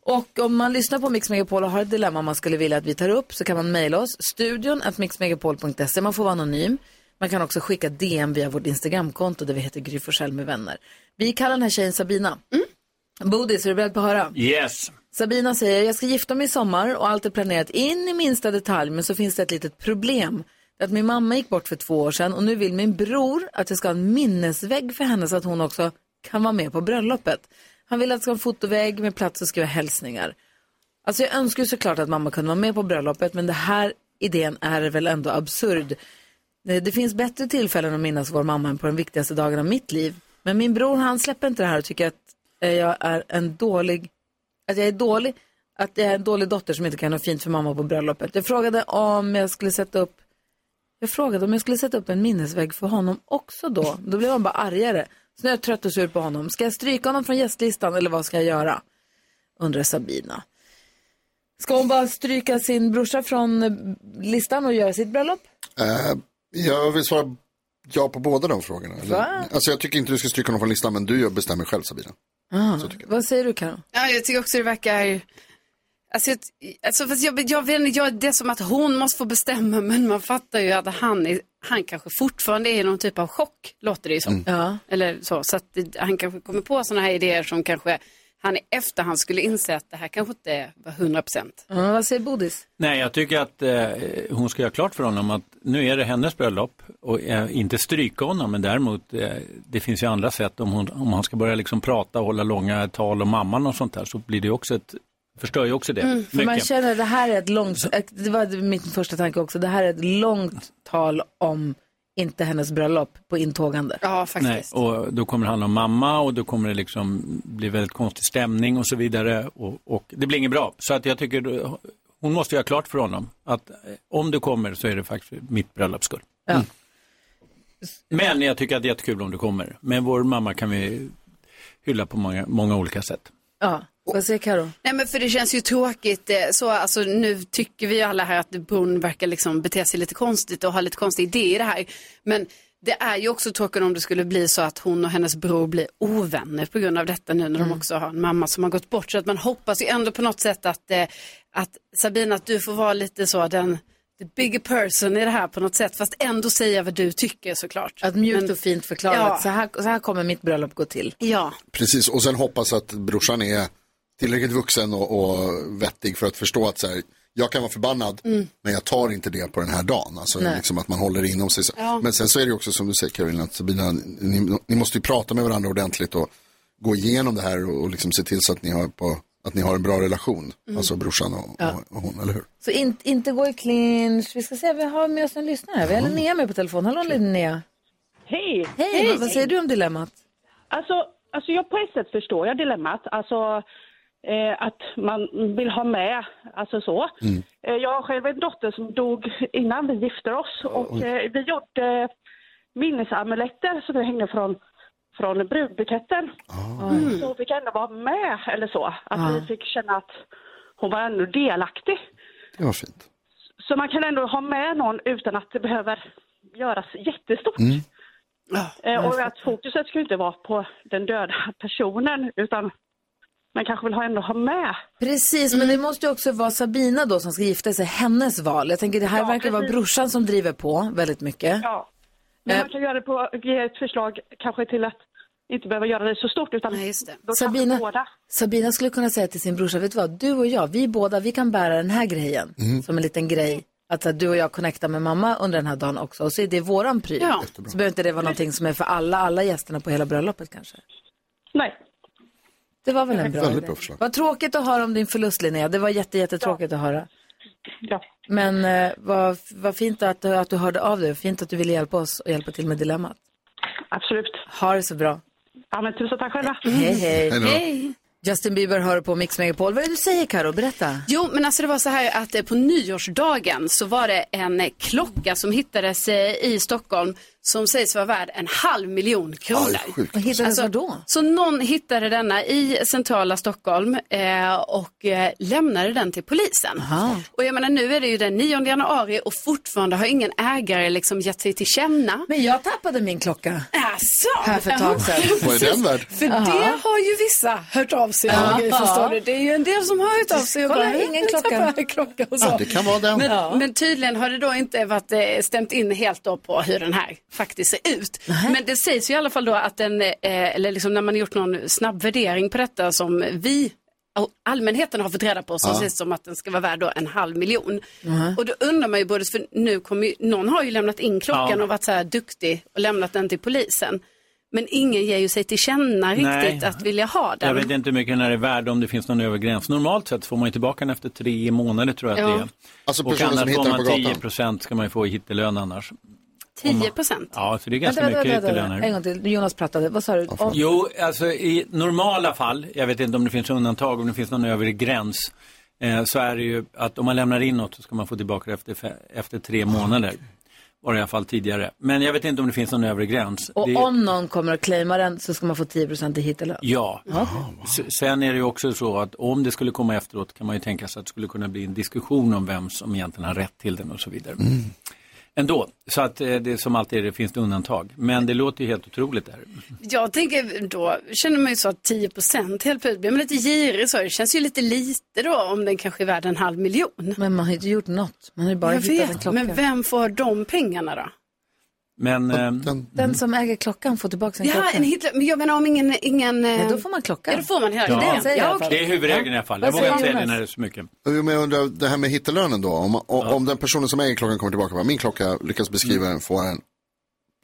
A: Och om man lyssnar på Mix Megapol och har ett dilemma man skulle vilja att vi tar upp så kan man mejla oss, studion at mixmegapol.se. Man får vara anonym. Man kan också skicka DM via vårt Instagramkonto där vi heter Gry Forssell med vänner. Vi kallar den här tjejen Sabina. Bodis, är du beredd på att höra?
I: Yes.
A: Sabina säger, jag ska gifta mig i sommar och allt är planerat in i minsta detalj men så finns det ett litet problem. Det är Att min mamma gick bort för två år sedan och nu vill min bror att jag ska ha en minnesvägg för henne så att hon också kan vara med på bröllopet. Han vill att jag ska ha en fotovägg med plats att skriva hälsningar. Alltså jag önskar ju såklart att mamma kunde vara med på bröllopet men den här idén är väl ändå absurd. Eh, Det finns bättre tillfällen att minnas vår mamma än på de viktigaste dagarna av mitt liv. Men min bror han släpper inte det här och tycker att eh, jag är en dålig, att jag är dålig, att jag är en dålig dotter som inte kan ha fint för mamma på bröllopet. Jag frågade om jag skulle sätta upp, jag frågade om jag skulle sätta upp en minnesvägg för honom också då. Då blev han bara argare. Så nu är jag trött och sur på honom. Ska jag stryka honom från gästlistan eller vad ska jag göra? Undrar Sabina. Ska hon bara stryka sin brorsa från eh, listan och göra sitt bröllop?
B: Eh, jag vill svara ja på båda de frågorna.
A: Va?
B: Alltså, jag tycker inte du ska stryka någon från listan, men du bestämmer själv Sabina.
A: Ah, vad säger du Karo?
E: Ja, jag tycker också det verkar... Alltså, jag, alltså fast jag, jag vet inte, jag, det är som att hon måste få bestämma, men man fattar ju att han, är, han kanske fortfarande är i någon typ av chock, låter det ju
I: Mm.
E: som.
A: Ja.
E: Eller så, så att det, han kanske kommer på sådana här idéer som kanske han i efterhand skulle inse att det här kanske inte var 100 procent.
A: Ja, vad säger Bodis?
I: Nej, jag tycker att eh, hon ska göra klart för honom att nu är det hennes bröllop och eh, inte stryka honom, men däremot eh, det finns ju andra sätt om, hon, om han ska börja liksom prata och hålla långa tal om mamman och sånt där så blir det ju också ett, förstör ju också det.
A: Mm, För man
I: mycket.
A: känner det här är ett långt, ett- det var min första tanke också, det här är ett långt tal om inte hennes bröllop på intågande.
E: Ja, faktiskt.
I: Nej, och då kommer det handla om mamma och då kommer det liksom bli väldigt konstig stämning och så vidare. Och, och det blir inget bra. Så att jag tycker då- hon måste göra klart för honom att eh, om du kommer så är det faktiskt för mitt bröllops skull.
A: Ja.
I: Men jag tycker att det är jättekul om du kommer. Men vår mamma kan vi hylla på många, många olika sätt.
A: Ja, vad säger Karo?
E: Nej men för det känns ju tråkigt eh, så, alltså nu tycker vi ju alla här att bron verkar liksom bete sig lite konstigt och ha lite konstiga idéer i det här. Men det är ju också tråkigt om det skulle bli så att hon och hennes bror blir ovänner på grund av detta nu när
A: Mm.
E: de också har en mamma som har gått bort. Så att man hoppas ju ändå på något sätt att, eh, att Sabina, att du får vara lite så den the bigger person i det här på något sätt. Fast ändå säga vad du tycker såklart.
A: Att mjukt
E: Men-
A: och fint förklara
E: Ja.
A: att så här, så här kommer mitt bröllop gå till.
E: Ja,
B: Precis, och sen hoppas att brorsan är tillräckligt vuxen och, och vettig för att förstå att så här, jag kan vara förbannad, men jag tar inte det på den här dagen. Alltså
A: Mm. Nej.
B: liksom att man håller det inom sig.
E: Ja.
B: Men sen så är det ju också som du säger Karolina, att Sabina, ni, ni måste ju prata med varandra ordentligt och gå igenom det här och, och liksom se till så att ni har, på, att ni har en bra relation.
A: Mm.
B: Alltså brorsan och, och, och hon, eller hur?
A: Så in, inte gå i clinch. Vi ska se, vi har med oss en lyssnare. Vi har Linnea med på telefon. Hallå Linnea.
H: Hej!
A: Hej, vad, vad säger du om dilemmat?
H: Alltså, alltså jag på ett sätt förstår jag dilemmat. Alltså eh, att man vill ha med, alltså så. Eh, jag har själv en dotter som dog innan vi gifte oss och eh, vi gjorde minnesamuletter som vi hängde från, från brudbuketten. Mm. Så hon fick ändå vara med eller så. Att
A: Ja.
H: vi fick känna att hon var ändå delaktig.
B: Det var fint.
H: Så man kan ändå ha med någon utan att det behöver göras jättestort. Eh, och att fokuset ska ju inte vara på den döda personen utan man kanske vill ha ändå ha med.
A: Precis, men det måste ju också vara Sabina då som ska gifta sig, hennes val. Jag tänker det här
H: Ja,
A: verkar vara
H: precis.
A: brorsan som driver på väldigt mycket.
H: Ja. Men
A: Eh.
H: man kan göra det på, ge ett förslag kanske till att inte behöva göra det så stort utan
E: Nej, just det.
H: då
A: Sabina,
H: kanske båda.
A: Sabina skulle kunna säga till sin brorsa, vet du vad, du och jag, vi båda, vi kan bära den här grejen
B: Mm.
A: som en liten grej. Att så här, du och jag connectar med mamma under den här dagen också. Och så är det våran pryl.
E: Ja.
A: Så behöver inte det vara någonting som är för alla, alla gästerna på hela bröllopet kanske.
H: Nej.
A: Det var väl en bra
B: Väldigt
A: idé.
B: bra förslag.
A: Vad tråkigt att höra om din förlust Linnea, det var jätte, jättetråkigt att höra.
H: Ja.
A: Men eh, vad, vad fint att, att du hörde av dig, fint att du ville hjälpa oss och hjälpa till med dilemmat.
H: Absolut.
A: Ha det så bra.
H: Ja, men tusen tack själva.
A: Mm. Hej, hej.
B: Hej då.
A: Justin Bieber hör på Mix Megapol. Vad är det du säger Karo? Berätta.
E: Jo, men alltså det var så här att eh, på nyårsdagen så var det en eh, klocka som hittades eh, i Stockholm som sägs vara värd en halv miljon kronor.
B: Aj, sjukt.
A: Vad hittades
E: Alltså,
A: var då?
E: Så någon hittade denna i centrala Stockholm eh, och eh, lämnade den till polisen.
A: Aha.
E: Och jag menar nu är det ju den 9 januari och fortfarande har ingen ägare liksom gett sig till känna.
A: Men jag tappade min klocka
E: Alltså,
A: här för ett tag sedan.
B: Vad är den värd?
E: För det har ju vissa hört av sig om, förstår du. Det är ju en del som har hört av sig och
A: Kolla,
E: bara,
A: ingen
E: "Jag
A: klocka."
E: tappade klockan och så.
B: Ja, Ah, det kan vara den.
E: Men, men tydligen har det då inte varit eh, stämt in helt då på hur den här faktiskt ser ut. Men det sägs ju i alla fall då att den, eh, eller liksom när man har gjort någon snabb värdering på detta som vi och allmänheten har fått reda på som sägs som att den ska vara värd då en halv miljon. Och då undrar man ju både, för nu kommer ju, någon har ju lämnat in klockan
I: Ja.
E: och varit så här duktig och lämnat den till polisen. Men ingen ger ju sig till känna
I: Nej.
E: riktigt att vilja ha den.
I: Jag vet inte hur mycket den här är värd om det finns någon övergräns. Normalt sett får man ju tillbaka den efter tre månader tror jag att
E: Ja.
I: det är.
B: Alltså
I: Och
B: personer som
I: annars
B: hittar
I: får
B: den på
I: man
B: gatan.
I: 10 procent ska man ju få i hittelön annars.
E: 10 procent?
I: Ja, så det är ganska mycket ytterligare.
A: En gång till. Jonas pratade. Vad sa du? Om-
I: Jo, alltså i normala fall, jag vet inte om det finns undantag, om det finns någon övre gräns, eh, så är det ju att om man lämnar in något så ska man få tillbaka det efter, fe- efter tre månader. Var det i alla fall tidigare. Men jag vet inte om det finns någon övre gräns.
A: Och
I: det,
A: om någon kommer att claima den så ska man få 10 i hittelön.
I: Ja.
A: Ja.
I: S- Sen är det ju också så att om det skulle komma efteråt kan man ju tänka sig att det skulle kunna bli en diskussion om vem som egentligen har rätt till den och så vidare. Ändå, så att eh, det är som alltid det finns det undantag. Men det låter ju helt otroligt där.
E: Jag tänker då, känner man ju så att 10 procent helt plötsligt blir man lite girig så. Det känns ju lite lite då om den kanske är värd en halv miljon.
A: Men man har ju inte gjort något. Man har ju bara
E: jag
A: hittat en
E: vet,
A: klocka.
E: men vem får de pengarna då?
I: Men, ehm,
A: Den som äger klockan får tillbaka sin
E: Ja,
A: klocka.
E: en Hitler, men jag menar om ingen... ingen
A: Nej, då får man klockan.
E: Ja, då får man hela
I: Ja.
E: klockan.
I: Det
A: säger jag.
E: okej.
I: det är huvudregeln i alla fall. Jag
A: Vad
I: vågar
A: säger
I: inte säga det
A: Jonas?
I: när det är så mycket.
B: Men jag undrar, det här med hittelönen då, om, om, om den personen som äger klockan kommer tillbaka och bara, min klocka lyckas
I: Mm.
B: beskriva den, får en.
A: Är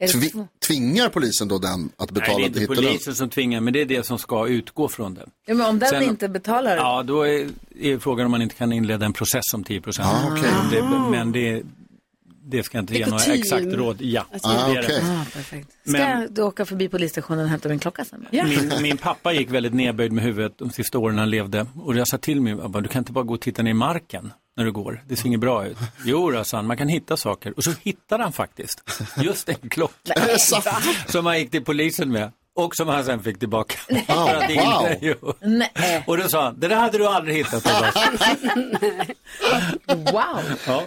A: det
B: Tvi,
A: två?
B: tvingar polisen då den att betala
I: Nej, det är inte
B: hittelön?
I: polisen som tvingar, men det är det som ska utgå från den.
A: Ja, men om den
I: Sen-
A: inte betalar.
I: Ja, då är, är frågan om man inte kan inleda en process om 10 procent.
B: Ah, okej.
I: Men det, det ska jag inte ge några
E: Nikotin.
I: exakt råd. Ja,
B: Ah,
I: Alltså, det är det.
B: okej.
A: Ah, perfekt. Ska
I: Men-
A: jag då åka förbi polisstationen och hämta min klocka sen? då?
I: Min, min pappa gick väldigt nedböjd med huvudet de sista åren han levde. Och jag sa till mig, "Abba, du kan inte bara gå och titta ner i marken när du går. Det ser inget bra ut. Jo, då, sa han, man kan hitta saker. Och så hittade han faktiskt just en klocka
B: Är det sant?
I: som han gick till polisen med. Och som han sen fick tillbaka. För att det
B: wow.
I: inte- jo.
A: Nej,
I: Och då sa han, det där hade du aldrig hittat. Abba."
A: wow.
I: Ja.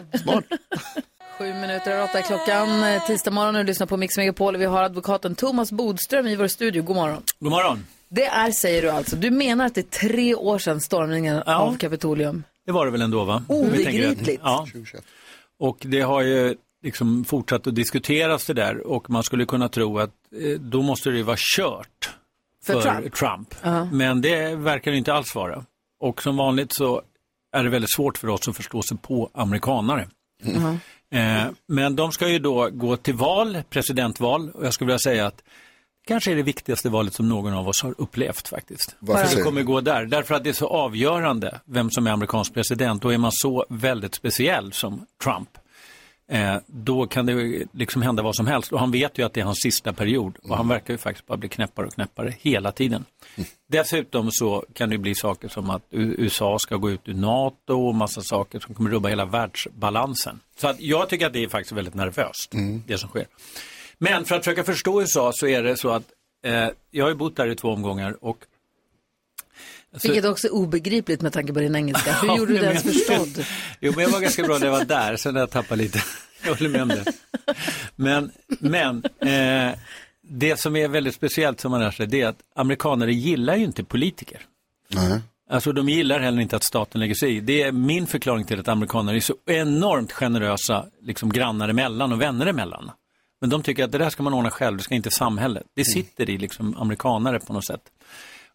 A: Sju minuter över åtta är klockan. Eh, Tisdag morgon och du lyssnar på Mix Megapol. Vi har advokaten Thomas Bodström i vår studio. God morgon.
I: God morgon.
A: Det är, säger du alltså, du menar att det är tre år sedan stormningen
I: Ja.
A: av Kapitolium.
I: Det var det väl ändå va? Om vi tänker rätt.
A: Obegripligt.
I: Ja. Och det har ju liksom fortsatt att diskuteras det där och man skulle kunna tro att eh, då måste det ju vara kört
A: För Trump?
I: Men det verkar det inte alls vara. Och som vanligt så är det väldigt svårt för oss att förstå sig på amerikanare.
A: Mm.
I: Eh, men de ska ju då gå till val, presidentval, och jag skulle vilja säga att kanske är det viktigaste valet som någon av oss har upplevt faktiskt.
B: Varför
I: Det
B: säger
I: kommer
B: du?
I: gå där, därför att det är så avgörande vem som är amerikansk president. Då är man så väldigt speciell som Trump. Eh, då kan det ju liksom hända vad som helst. Och han vet ju att det är hans sista period. Och han verkar ju faktiskt bara bli knäppare och knäppare hela tiden. Dessutom så kan det ju bli saker som att U- USA ska gå ut ur NATO och massa saker som kommer rubba hela världsbalansen. Så att jag tycker att det är faktiskt väldigt nervöst, det som sker. Men för att försöka förstå USA så är det så att eh, jag har ju bott där i två omgångar och Alltså-
A: Vilket också är obegripligt med tanke på din engelska. Hur gjorde du det ens
I: men-
A: förstådd?
I: Jo, men jag var ganska bra när jag var där, sen har jag tappat lite. Jag håller med om det. Men, men eh, det som är väldigt speciellt som man lär sig, det är att amerikaner gillar ju inte politiker.
B: Nej.
I: Alltså de gillar heller inte att staten lägger sig i. Det är min förklaring till att amerikaner är så enormt generösa liksom, grannar emellan och vänner emellan. Men de tycker att det där ska man ordna själv, det ska inte samhället. Det
A: Mm.
I: sitter i liksom amerikanare på något sätt.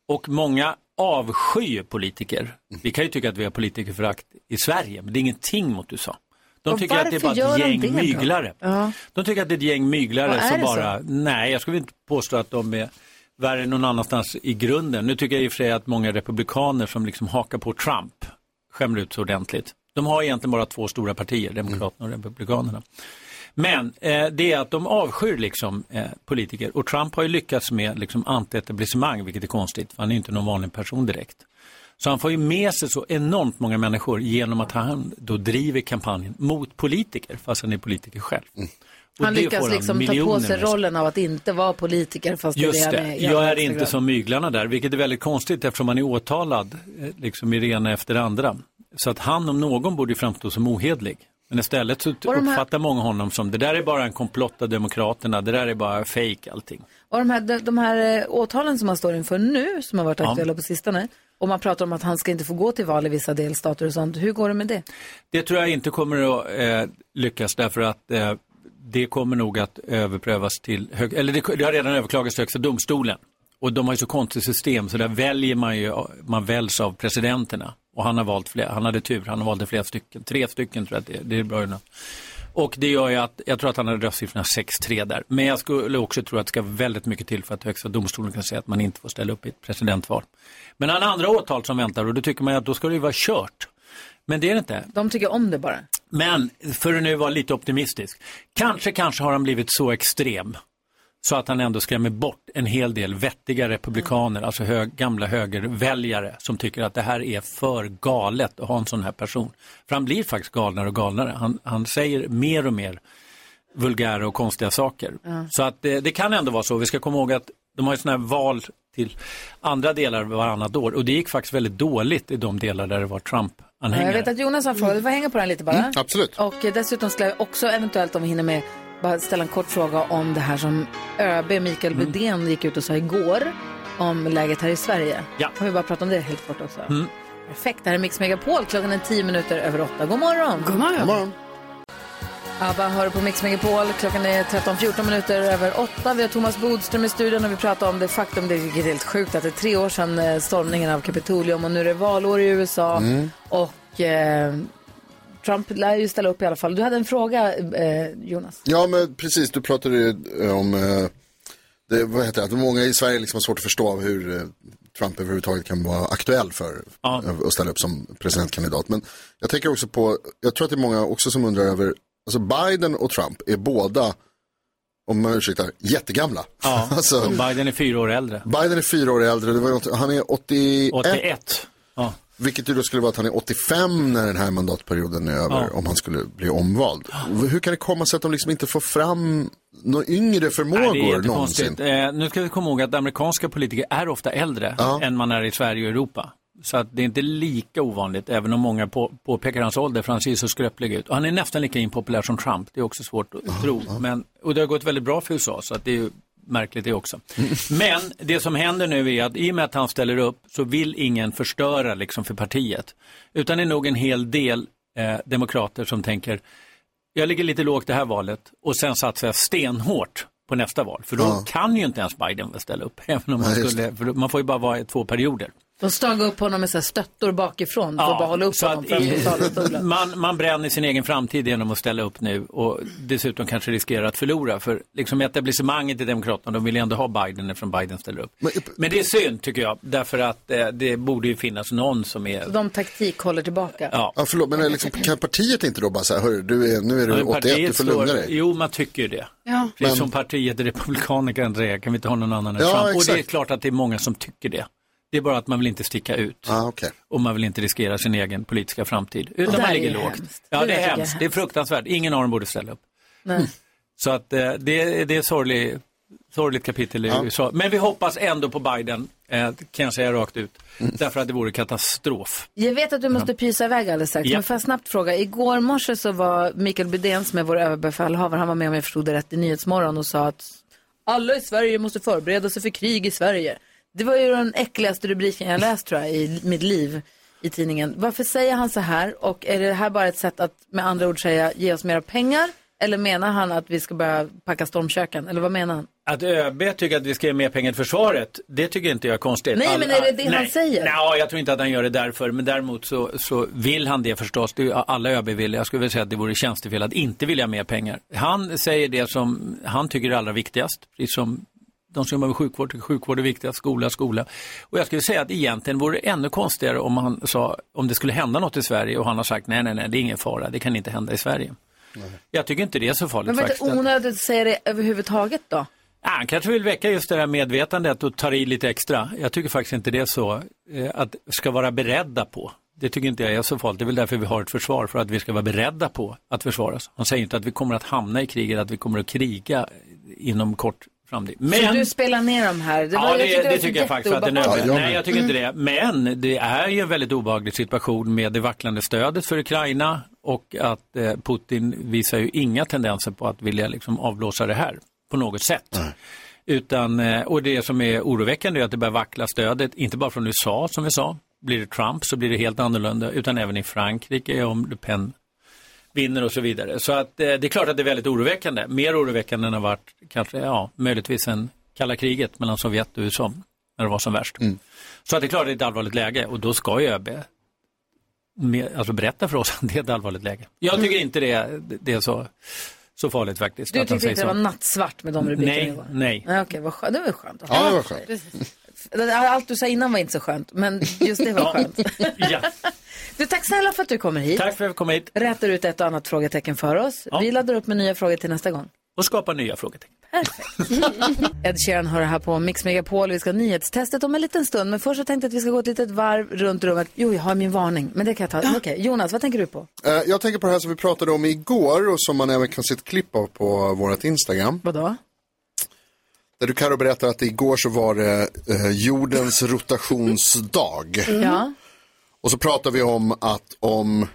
I: Och många avskyr politiker.
A: Mm.
I: Vi kan ju tycka att vi har politikerförakt i Sverige, men det är ingenting mot USA. De
A: Och
I: tycker att det är
A: varför
I: bara ett
A: gör de
I: gäng
A: det då?
I: myglare.
A: Ja.
I: De tycker att det är ett gäng
A: Och
I: myglare
A: är
I: som
A: det så?
I: bara, nej jag skulle inte påstå att de är värre än någon annanstans i grunden. Nu tycker jag i och för sig att många republikaner som liksom hakar på Trump skämmer ut så ordentligt. De har egentligen bara två stora partier, Demokraterna och Republikanerna. Men eh, det är att de avskyr liksom, eh, politiker och Trump har ju lyckats med liksom, antietablissemang, vilket är konstigt, för han är ju inte någon vanlig person direkt. Så han får ju med sig så enormt många människor genom att han då driver kampanjen mot politiker, fast han är politiker själv. Och
A: Han
I: det
A: lyckas
I: får
A: liksom ta på
I: miljoner
A: sig
I: med sig.
A: rollen av att inte vara politiker fast det
I: Just
A: är det han
I: det,
A: är. i
I: jag
A: allra
I: är
A: högsta
I: inte
A: grad.
I: som myglarna där, vilket är väldigt konstigt eftersom han är åtalad eh, liksom i det ena efter det andra. Så att han om någon borde ju framstå som ohederlig. Men istället så
A: Och de här-
I: uppfattar många honom som det där är bara en komplott av demokraterna, det där är bara fake allting.
A: Och de här, de, de här eh, åtalen som han står inför nu, som har varit aktuella på sistone, och man pratar om att han ska inte få gå till val i vissa delstater och sånt. Hur går det med det?
I: Det tror jag inte kommer att eh, lyckas därför att eh, det kommer nog att överprövas till hög, eller det, det har redan överklagats till Högsta domstolen. Och de har ju så konstigt system så där väljer man ju, man väljs av presidenterna. Och han har valt fler, han hade tur, han valde flera stycken, tre stycken tror jag att det, är. det är bra innan. Och det gör ju att, jag tror att han hade röstsiffrorna 6-3 där. Men jag skulle också tro att det ska väldigt mycket till för att Högsta domstolen kan säga att man inte får ställa upp i ett presidentval. Men han har andra åtal som väntar och då tycker man ju att då ska det ju vara kört. Men det är det inte.
A: De tycker om det bara.
I: Men för att nu vara lite optimistisk, kanske, kanske har han blivit så extrem så att han ändå skrämmer bort en hel del vettiga republikaner, alltså hög, gamla högerväljare som tycker att det här är för galet att ha en sån här person. För han blir faktiskt galnare och galnare. Han, han säger mer och mer vulgära och konstiga saker. Så att eh, det, det kan ändå vara så. Vi ska komma ihåg att de har ju sådana här val till andra delar varannat år och det gick faktiskt väldigt dåligt i de delar där det var
A: Ja, Jag vet
I: Trump-anhängare.
A: att Jonas har en fråga, vi får hänga på den lite bara.
B: Mm, absolut.
A: Och eh, dessutom skulle jag också eventuellt, om vi hinner med, bara ställa en kort fråga om det här som ÖB Mikael
I: Mm.
A: Budén gick ut och sa igår om läget här i Sverige.
I: Ja.
A: Kan vi bara prata om det helt kort också?
I: Mm.
A: Perfekt, det här är Mix Megapol, klockan är tio minuter över åtta. God morgon!
E: God morgon.
A: ABBA hör på Mix Megapol, klockan är 13-14 minuter över åtta. Vi har Thomas Bodström i studion och vi pratar om det faktum, det är helt sjukt, att det är tre år sedan eh, stormningen av Kapitolium och nu är det valår i USA. Och eh, Trump lär ju ställa upp i alla fall. Du hade en fråga, eh, Jonas.
B: Ja, men precis. Du pratade ju eh, om eh, det, vad heter det? att många i Sverige liksom har svårt att förstå hur eh, Trump överhuvudtaget kan vara aktuell för
I: Ja.
B: eh, att ställa upp som presidentkandidat. Men jag tänker också på, jag tror att det är många också som undrar över, alltså Biden och Trump är båda, om man ursäktar, jättegamla.
I: Ja,
B: alltså,
I: och Biden är fyra år äldre.
B: Biden är fyra år äldre, det var något, han är 81,
I: 81. Ja.
B: vilket ju då skulle vara att han är 85 när den här mandatperioden är över,
I: Ja.
B: om han skulle bli omvald. Hur kan det komma sig att de liksom inte får fram några yngre
I: Nej, det är
B: förmågor någonsin?
I: jättekonstigt. Eh, nu ska vi komma ihåg att amerikanska politiker är ofta äldre
B: Ja.
I: än man är i Sverige och Europa. Så att det är inte lika ovanligt, även om många på, påpekar hans ålder, för han ser så skröplig ut. Och han är nästan lika impopulär som Trump, det är också svårt att tro. Men, och det har gått väldigt bra för USA, så att det är ju märkligt det också. Men det som händer nu är att i och med att han ställer upp så vill ingen förstöra liksom, för partiet. Utan det är nog en hel del eh, demokrater som tänker, jag ligger lite lågt det här valet och sen satsar jag stenhårt på nästa val. För då kan ju inte ens Biden väl ställa upp. Även om man,
B: Nej, just
I: skulle, för man får ju bara vara i två perioder.
A: De stag upp honom med så här stöttor bakifrån för att bara hålla upp
I: så
A: honom
I: att
A: framför
I: i-
A: talarstolen.
I: man, man bränner sin egen framtid genom att ställa upp nu och dessutom kanske riskerar att förlora. För liksom etablissemanget i Demokraterna, de vill ju ändå ha Biden eftersom Biden ställer upp. Men, det är synd tycker jag, därför att eh, det borde ju finnas någon som är...
A: De taktik håller tillbaka.
I: Ja.
B: Ja, förlåt, men är liksom, kan partiet inte då bara säga, hörru, du är, nu är du
I: Men
B: 81, du
I: partiet
B: får lugna
I: står-
B: dig.
I: Jo, man tycker ju det.
E: Ja.
I: Precis som partiet Republikanerna kan säga, kan vi inte ha någon annan än
B: Ja,
I: Trump? Och det är
B: exakt.
I: klart att det är många som tycker det. Det är bara att man vill inte sticka ut.
B: Ah, okej.
I: Och man vill inte riskera sin egen politiska framtid. Utan
A: Det
I: man
A: här
I: ligger
A: är
I: lågt.
A: hemskt.
I: Ja,
A: Det
I: det, är
A: där tycker jag är
I: hemskt. Det är
A: hemskt.
I: fruktansvärt. Ingen av dem borde ställa upp.
A: Nej.
I: Så att eh, det, det är ett sorglig, sorgligt kapitel i USA. Men vi hoppas ändå på Biden, eh, kan jag säga rakt ut.
B: Mm.
I: Därför att det vore katastrof.
A: Jag vet att du måste pysa iväg alldeles strax,
I: Ja.
A: men får jag snabbt fråga. Igår morse så var Mikael Bydén som är vår överbefälhavare, han var med om jag förstod det rätt i Nyhetsmorgon och sa att alla i Sverige måste förbereda sig för krig i Sverige. Det var ju den äckligaste rubriken jag läst tror jag i mitt liv i tidningen. Varför säger han så här och är det här bara ett sätt att med andra ord säga ge oss mera pengar eller menar han att vi ska börja packa stormköken eller vad menar han?
I: Att ÖB tycker att vi ska ge mer pengar till försvaret, det tycker inte jag är konstigt.
A: Nej, men är det det
I: nej.
A: han säger?
I: Nej, jag tror inte att han gör det därför, men däremot så, så vill han det förstås. Det är ju alla ÖB vill. Jag skulle vilja säga att det vore tjänstefel att inte vilja ha mer pengar. Han säger det som han tycker är allra viktigast, precis som de som jobbar med sjukvård tycker sjukvård är viktigast, skola, skola. Och jag skulle säga att egentligen vore det ännu konstigare om han sa, om det skulle hända något i Sverige och han har sagt nej, nej, nej, det är ingen fara, det kan inte hända i Sverige. Jag tycker inte det är så farligt
A: Men var det
I: faktiskt.
A: inte onödigt att säga det överhuvudtaget då?
I: Ja, han kanske vill väcka just det här medvetandet och ta i lite extra. Jag tycker faktiskt inte det är så eh, att ska vara beredda på. Det tycker inte jag är så farligt. Det är väl därför vi har ett försvar, för att vi ska vara beredda på att försvara oss. Han säger inte att vi kommer att hamna i krig eller att vi kommer att kriga inom kort framtid.
A: Men...
I: Men...
A: Du spelar ner de här. Det var-
I: Ja, det,
A: tyckte
I: det,
A: var
I: tycker jag faktiskt att det är nödvändigt.
A: jätteobehagligt.
B: Ja, Mm. jag
I: Nej, jag tycker inte det. Men det är ju en väldigt obehaglig situation med det vacklande stödet för Ukraina och att eh, Putin visar ju inga tendenser på att vilja liksom avblåsa det här på något sätt. Utan, eh, och det som är oroväckande är att det börjar vackla stödet, inte bara från USA som vi sa, blir det Trump så blir det helt annorlunda, utan även i Frankrike om Le Pen vinner och så vidare. Så att, eh, det är klart att det är väldigt oroväckande. Mer oroväckande än har varit kanske, ja, möjligtvis en kalla kriget mellan Sovjet och USA när det var som värst.
C: Mm.
I: Så att det är klart att det är ett allvarligt läge och då ska ju ÖB med, alltså berätta för oss att det är ett allvarligt läge. Jag tycker inte det, är- det är så, så farligt faktiskt.
A: Du
I: att han
A: tyckte
I: säger
A: inte det
I: så.
A: var nattsvart med de rubrikerna
I: Nej,
A: igår?
I: nej.
A: Nej, okej, vad skönt. Det var skönt att
B: Ja, det
A: höra.
B: var skönt.
A: Allt du sa innan var inte så skönt, men just det var skönt.
I: Ja.
A: Du, tack snälla för att du kommer hit.
I: Tack för att jag kom hit
A: Rätar ut ett och annat frågetecken för oss. Vi laddar upp med nya frågor till nästa gång.
I: och skapa nya frågetecken.
A: Ed Sheeran hör det här på Mix Megapol. Vi ska ha nyhetstestet om en liten stund. Men först så tänkte jag att vi ska gå ett litet varv runt rummet. Jo, jag har min varning, men det kan jag ta. Okej, Jonas, vad tänker du på?
B: Eh, Jag tänker på det här som vi pratade om igår och som man även kan se ett klipp av på vårt Instagram.
A: Vadå?
B: Där du Karo berättar att igår så var det eh, jordens rotationsdag.
A: Ja,
B: Och så pratar vi om att om,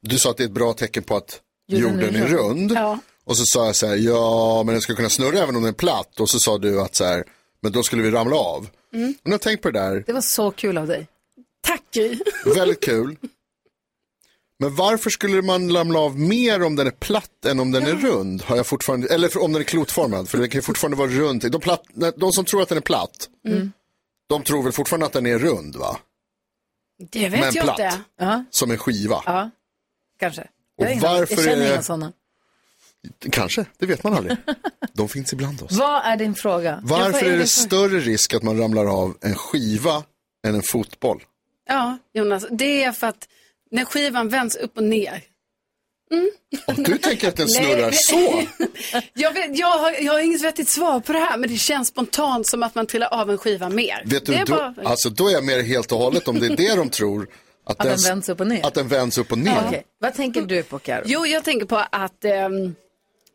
B: du sa att det är ett bra tecken på att
A: Jorden
B: jorden,
A: är
B: är
A: rund.
B: rund. Och så sa jag så här, ja men den ska kunna snurra även om den är platt. Och så sa du att så här, men då skulle vi ramla av.
A: Mm.
B: Men jag har tänkt på det där,
A: det var så kul av dig.
E: Tack Gry.
B: väldigt kul. Men varför skulle man ramla av mer om den är platt än om den är rund? Har jag fortfarande, eller för- om den är klotformad, för det kan ju fortfarande vara runt. De, platt, nej, de som tror att den är platt,
E: Mm.
B: de tror väl fortfarande att den är rund va?
E: Det vet
B: Men
E: jag
B: platt.
E: inte.
A: Ja,
B: Som en skiva.
A: ja kanske. Jag, har
B: Och
A: ingen aning.
B: varför
A: jag känner
B: är-
A: inga sådana.
B: Kanske, det vet man aldrig. De finns ibland oss.
A: Vad är din fråga? Jag
B: Varför
A: får-
B: är
A: jag
B: det
A: får-
B: större risk att man ramlar av en skiva än en fotboll?
E: Ja, Jonas. Det är för att när skivan vänds upp och ner.
B: Och du tänker att den
E: Nej,
B: snurrar
E: men-
B: så?
E: Jag, vet, jag, har, jag har inget vettigt svar på det här, men det känns spontant som att man trillar av en skiva mer.
B: Vet
E: det
B: du,
E: är
B: då,
E: bara-
B: alltså, då är jag med dig helt och hållet om det är det de tror. Att,
A: den vänds upp och ner?
B: Att den vänds upp och ner.
A: Okej, Vad tänker du på, Karo?
E: Jo, jag tänker på att ehm,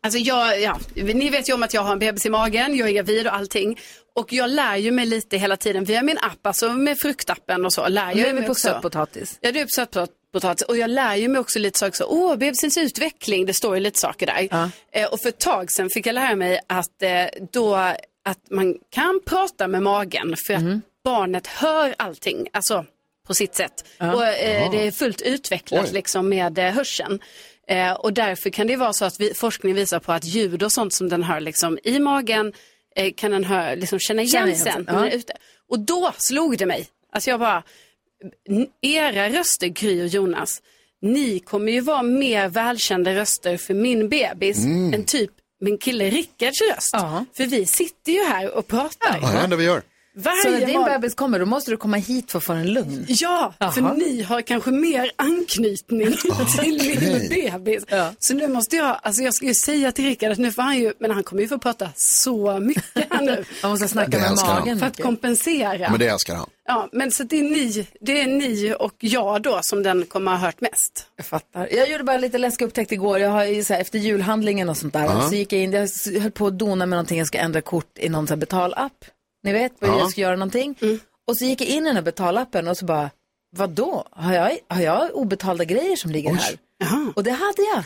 E: Alltså jag, ja, ni vet ju om att jag har en bebis i magen, jag är gravid och allting. Och jag lär ju mig lite hela tiden via min app, alltså med fruktappen och så. Lär
A: Nu
E: jag
A: är vi
E: mig
A: på
E: också.
A: sötpotatis.
E: Ja, det är sötpotatis. Och jag lär ju mig också lite saker. Så, Åh, bebisens utveckling, det står ju lite saker där.
A: Ja.
E: Eh, och för ett tag sedan fick jag lära mig att, eh, då, att man kan prata med magen för att
A: Mhm.
E: barnet hör allting. Alltså på sitt sätt. Och, eh, det är fullt utvecklat
B: Oj.
E: liksom, med eh, hörseln. Eh, och därför kan det vara så att vi, forskning visar på att ljud och sånt som den hör liksom, i magen eh, kan den hör, liksom, känna igen
A: Känner igen
E: sen.
A: sen,
E: när
A: ja.
E: den är ute. Och då slog det mig. Alltså jag bara, N- era röster, Gry och Jonas, ni kommer ju vara mer välkända röster för min bebis
B: Mm.
E: än typ min kille Rickards röst.
A: Ja.
E: För vi sitter ju här och pratar.
B: Ja, det är det enda vi gör.
A: Så
E: Varje
A: när din
E: morgon.
A: bebis kommer, då måste du komma hit för att få en lugn.
E: Ja, för
A: Jaha.
E: ni har kanske mer anknytning till min bebis. Så nu måste jag, alltså jag ska ju säga till Rickard att nu får han ju, men han kommer ju få prata så mycket här nu.
A: Man måste
B: Det
A: snacka med
B: älskar han.
A: magen.
E: För att
A: mycket.
E: kompensera.
B: Men det älskar han.
E: Ja, men så det är, ni, det är ni och jag då som den kommer ha hört mest.
A: Jag fattar. Jag gjorde bara lite läskig upptäckt igår. Jag har ju så här, efter julhandlingen och sånt där. Så gick jag in, jag s- höll på att dona med någonting. Jag ska ändra kort i någon så här betalapp. Ni vet, vad jag ska göra någonting. Och så gick jag in i den här betalappen och så bara, vadå? Har jag, har jag obetalda grejer som ligger här? Och det hade jag.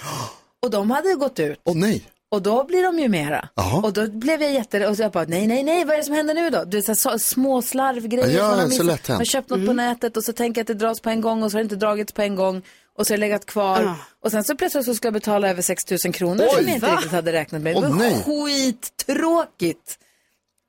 A: Och de hade gått ut.
B: Åh nej.
A: Och då blir de ju mera.
B: Jaha.
A: Och då blev jag jätte... Och så jag bara, nej, nej, nej, vad är det som händer nu då? Du vet, så här, så- små slarvgrejer.
B: Ja,
A: som man
B: så
A: missat.
B: lätt hänt. Mm.
A: Man har köpt något på nätet och så tänker jag att det dras på en gång och så har det inte dragits på en gång. Och så har det legat kvar.
E: Ah.
A: Och sen så plötsligt så ska jag betala över 6 000 kronor som jag inte riktigt hade räknat med.
B: Åh,
A: det var
B: nej.
A: skittråkigt.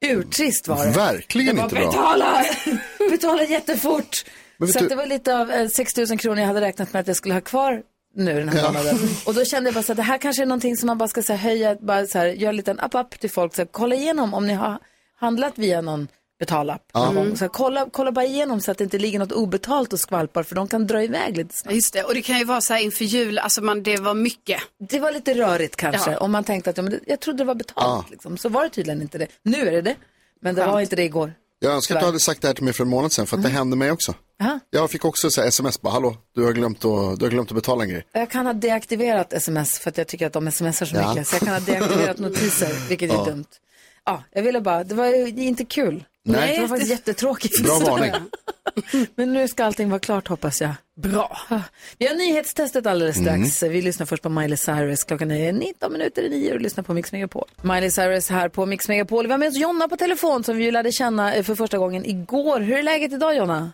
A: Urtrist var det.
B: Verkligen inte bra.
A: Betala! betala jättefort!
B: Men vet
A: Så att
B: du-
A: det var lite av eh, 6 000 kronor jag hade räknat med att jag skulle ha kvar nu den här
B: Ja.
A: månaden. Och då kände jag bara så att det här kanske är någonting som man bara ska så här, höja, bara så här, göra en liten app-app till folk. Så här, kolla igenom om ni har handlat via någon betalapp. någon
B: Mm.
A: gång. Så här, kolla, kolla bara igenom så att det inte ligger något obetalt och skvalpar för de kan dra iväg lite snabbt.
E: Ja, just det. Och det kan ju vara så här inför jul, alltså man, det var mycket.
A: Det var lite rörigt kanske om man tänkte att ja, men det- jag trodde det var betalt. Liksom. Så var det tydligen inte det. Nu är det det, men det var inte det igår.
B: Jag önskar att du hade sagt det här till mig för en månad sedan för
A: Mm.
B: att det hände mig också.
A: Aha.
B: Jag fick också så här sms bara, hallå, du har, glömt att, du har glömt att betala en grej.
A: Jag kan ha deaktiverat sms för att jag tycker att de smsar så
B: Ja.
A: mycket. Så jag kan ha deaktiverat notiser, vilket är dumt. Ja, jag ville bara, det var ju det är inte kul.
B: Nej.
A: det var faktiskt jättetråkigt.
B: Bra varning.
A: Men nu ska allting vara klart hoppas jag. Bra. Vi har nyhetstestet alldeles
B: Mm.
A: strax. Vi lyssnar först på Miley Cyrus. Klockan är 19 minuter i 9 och lyssnar på Mix Megapol. Miley Cyrus här på Mix Megapol. Vi har med oss Jonna på telefon som vi ju lärde känna eh, för första gången igår. Hur är läget idag Jonna?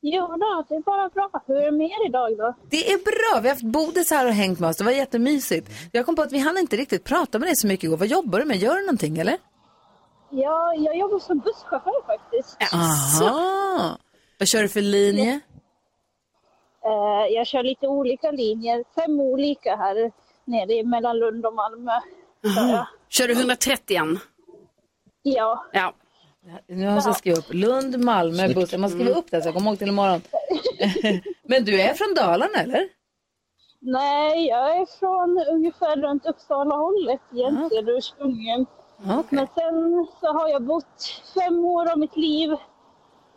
H: Jo då, det är bara bra. Hur är det med er idag då?
A: Det är bra. Vi har haft Bodis här och hängt med oss. Det var jättemysigt. Jag kom på att vi hann inte riktigt prata med dig så mycket igår. Vad jobbar du med? Gör du någonting eller?
H: Ja, jag jobbar som busschaufför faktiskt.
A: Aha. Vad kör du för linje?
H: Eh, Jag kör lite olika linjer, fem olika här nere i mellan Lund och Malmö. Så, ja.
E: Kör du 130 igen?
H: ja,
E: Ja.
A: Nu har jag alltså skrivit upp Lund, Malmö, buss. Jag måste skriva upp det här så jag kommer ihåg till imorgon. Men du är från Dalarna eller?
J: Nej, jag är från ungefär runt Uppsala-hållet egentligen ursprungligen. Men sen så har jag bott fem år av mitt liv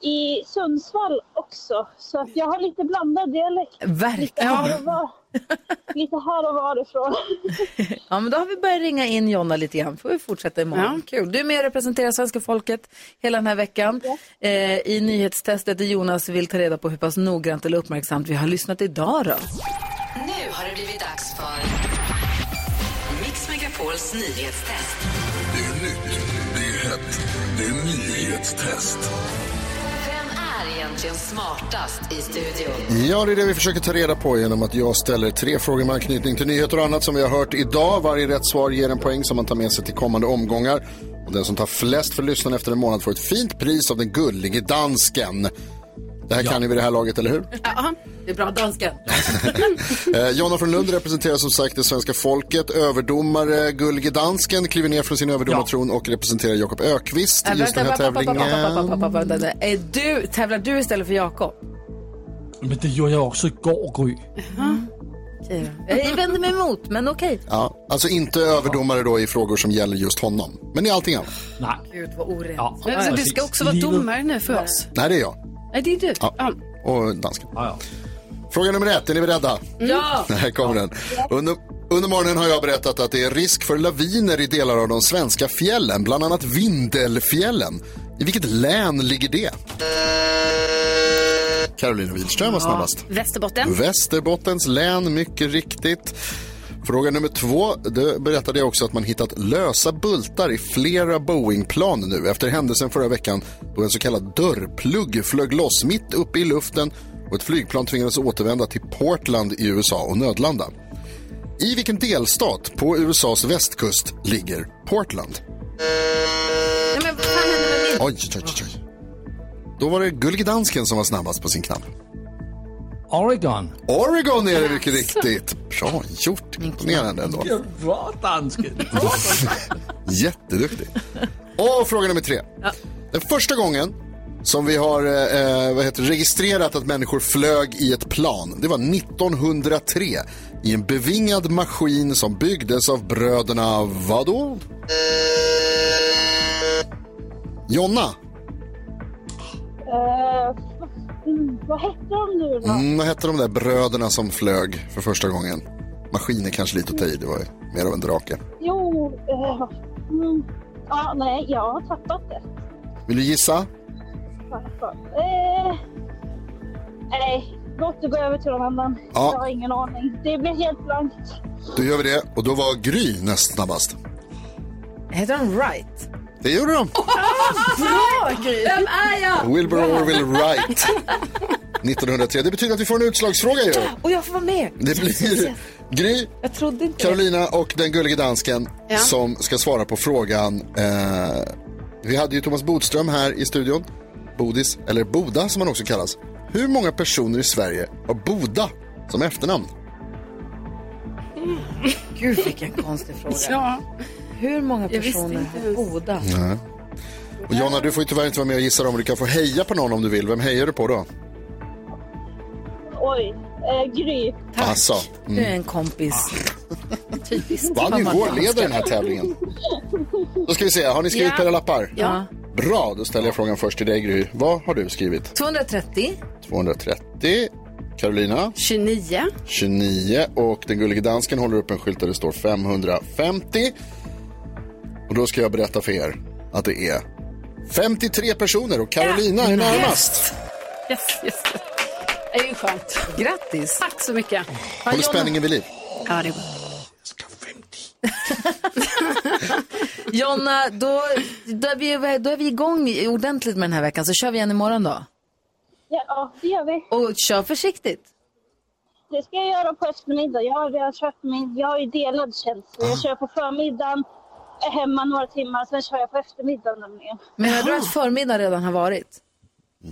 J: i Sundsvall också. Så att jag har lite blandad dialekt.
A: Verkligen.
J: Lite här och var, lite här och varifrån.
A: Ja, men då har vi börjat ringa in Jonna lite grann. Får vi fortsätta imorgon. Kul. Du är med och representerar svenska folket hela den här veckan. Eh, I nyhetstestet där Jonas vill ta reda på hur pass noggrant eller uppmärksamt vi har lyssnat idag då.
K: Nu har det blivit dags för Mix Megapols nyhetstest.
F: Det är nytt, det är hett, det är nyhetstest.
K: Vem är egentligen smartast i studion?
B: Ja, det är det vi försöker ta reda på genom att jag ställer tre frågor med anknytning till nyheter och annat som vi har hört idag. Varje rätt svar ger en poäng som man tar med sig till kommande omgångar. Och den som tar flest för lyssnarna efter en månad får ett fint pris av den gullige dansken. Det här kan ni vid det här laget, eller hur?
E: Ja, det är bra dansken.
B: Eh, Jonna från Lund representerar som sagt det svenska folket. Överdomare Gullige Dansken kliver ner från sin överdomartron och representerar Jakob Ökvist i just den här tävlingen.
A: Är du, tävlar du istället för Jakob?
C: Men det gjorde jag också igår, Gry.
A: Okej då. Jag vänder mig emot, men okej.
B: Ja, alltså inte överdomare då i frågor som gäller just honom, men i allting annat.
C: Nej.
A: Gud, vad orent.
C: Ja.
E: Men, så Alltså, du
C: precis.
E: ska också vara
C: Livet-
E: domare nu för oss?
B: Nej, det är jag
E: Nej, det är du. Ja.
B: och dansken.
C: Ja, ja.
B: Fråga nummer ett, är ni beredda?
A: Ja!
B: Här kommer den. Under, under morgonen har jag berättat att det är risk för laviner i delar av de svenska fjällen, bland annat Vindelfjällen. I vilket län ligger det? Carolina Wihlström var snabbast.
E: Västerbotten.
B: Västerbottens län, mycket riktigt. Fråga nummer två. Det berättade jag också att man hittat lösa bultar i flera Boeingplan nu efter händelsen förra veckan då en så kallad dörrplugg flög loss mitt uppe i luften och ett flygplan tvingades återvända till Portland i USA och nödlanda. I vilken delstat på USAs västkust ligger Portland?
E: Nej, men vad fan händer med min?
B: Oj, oj, oj, oj. Då var det Gullige Dansken som var snabbast på sin knapp.
C: Oregon.
B: Oregon är det mycket riktigt. Bra gjort. Imponerande ändå.
C: Bra dansken.
B: Jätteduktig. Och fråga nummer tre. Den första gången som vi har eh, eh, vad heter, det, registrerat att människor flög i ett plan, det var 1903 i en bevingad maskin som byggdes av bröderna vadå? Jonna,
J: Eh, mm, vad hette de nu då?
B: mm, vad hette de där bröderna som flög för första gången? Maskin är kanske lite att ta i, det var ju mer av en drake.
J: Jo, eh, mm, ja, nej, jag har tappat det.
B: Vill du gissa?
J: Varför? Eh, nej, låt det gå över till någon annan.
B: Ja.
J: Jag har ingen aning. Det blir helt blankt.
B: Då gör vi det, och då var Gry näst snabbast.
A: Heter de Right?
B: Det gjorde de.
A: Vem är jag?
B: Wilbur Orville Wright. 1903. Det betyder att vi får en utslagsfråga ju.
A: Och jag får vara med.
B: Det blir Gry,
A: Jag trodde inte det.
B: Carolina och den gullige dansken som ska svara på frågan. Eh, vi hade ju Thomas Bodström här i studion. Bodis, eller Boda som han också kallas. Hur många personer i Sverige har Boda som efternamn?
A: Gud, vilken konstig fråga.
E: Ja.
A: Hur många personer
E: inte
A: har
E: ens.
A: Boda?
B: Och Jonna, du får ju tyvärr inte vara med och gissa dem, men du kan få heja på någon om du vill. Vem hejar du på då?
J: Oj, eh, Gry.
B: Tack. Alltså,
A: Du är en kompis. Typiskt.
B: vann ju
A: Vad man
B: vår ledare den här tävlingen. Då ska vi se, har ni skrivit på era lappar?
A: Ja.
B: Bra, då ställer jag frågan först till dig Gry. Vad har du skrivit?
A: 230.
B: 230. Carolina
E: 29.
B: 29 och den gullige dansken håller upp en skylt där det står 550. Och då ska jag berätta för er att det är 53 personer och Carolina är
A: Mm.
B: närmast.
E: Yes, yes. Det är ju skönt.
A: Grattis.
E: Tack så mycket.
B: Håller spänningen vid liv.
E: Ja, det är bra.
A: Jonna, då, då, är vi, då är vi igång ordentligt med den här veckan. Så kör vi igen imorgon då.
J: Ja, ja, det gör vi.
A: Och kör försiktigt.
J: Det ska jag göra på eftermiddag. Jag har redan kört min... Jag har ju delad tjänst. Så
B: Mm.
J: Jag kör på förmiddagen, är hemma några timmar, sen kör jag på eftermiddagen nämligen.
A: Menar du att förmiddagen redan har varit?
J: Eh,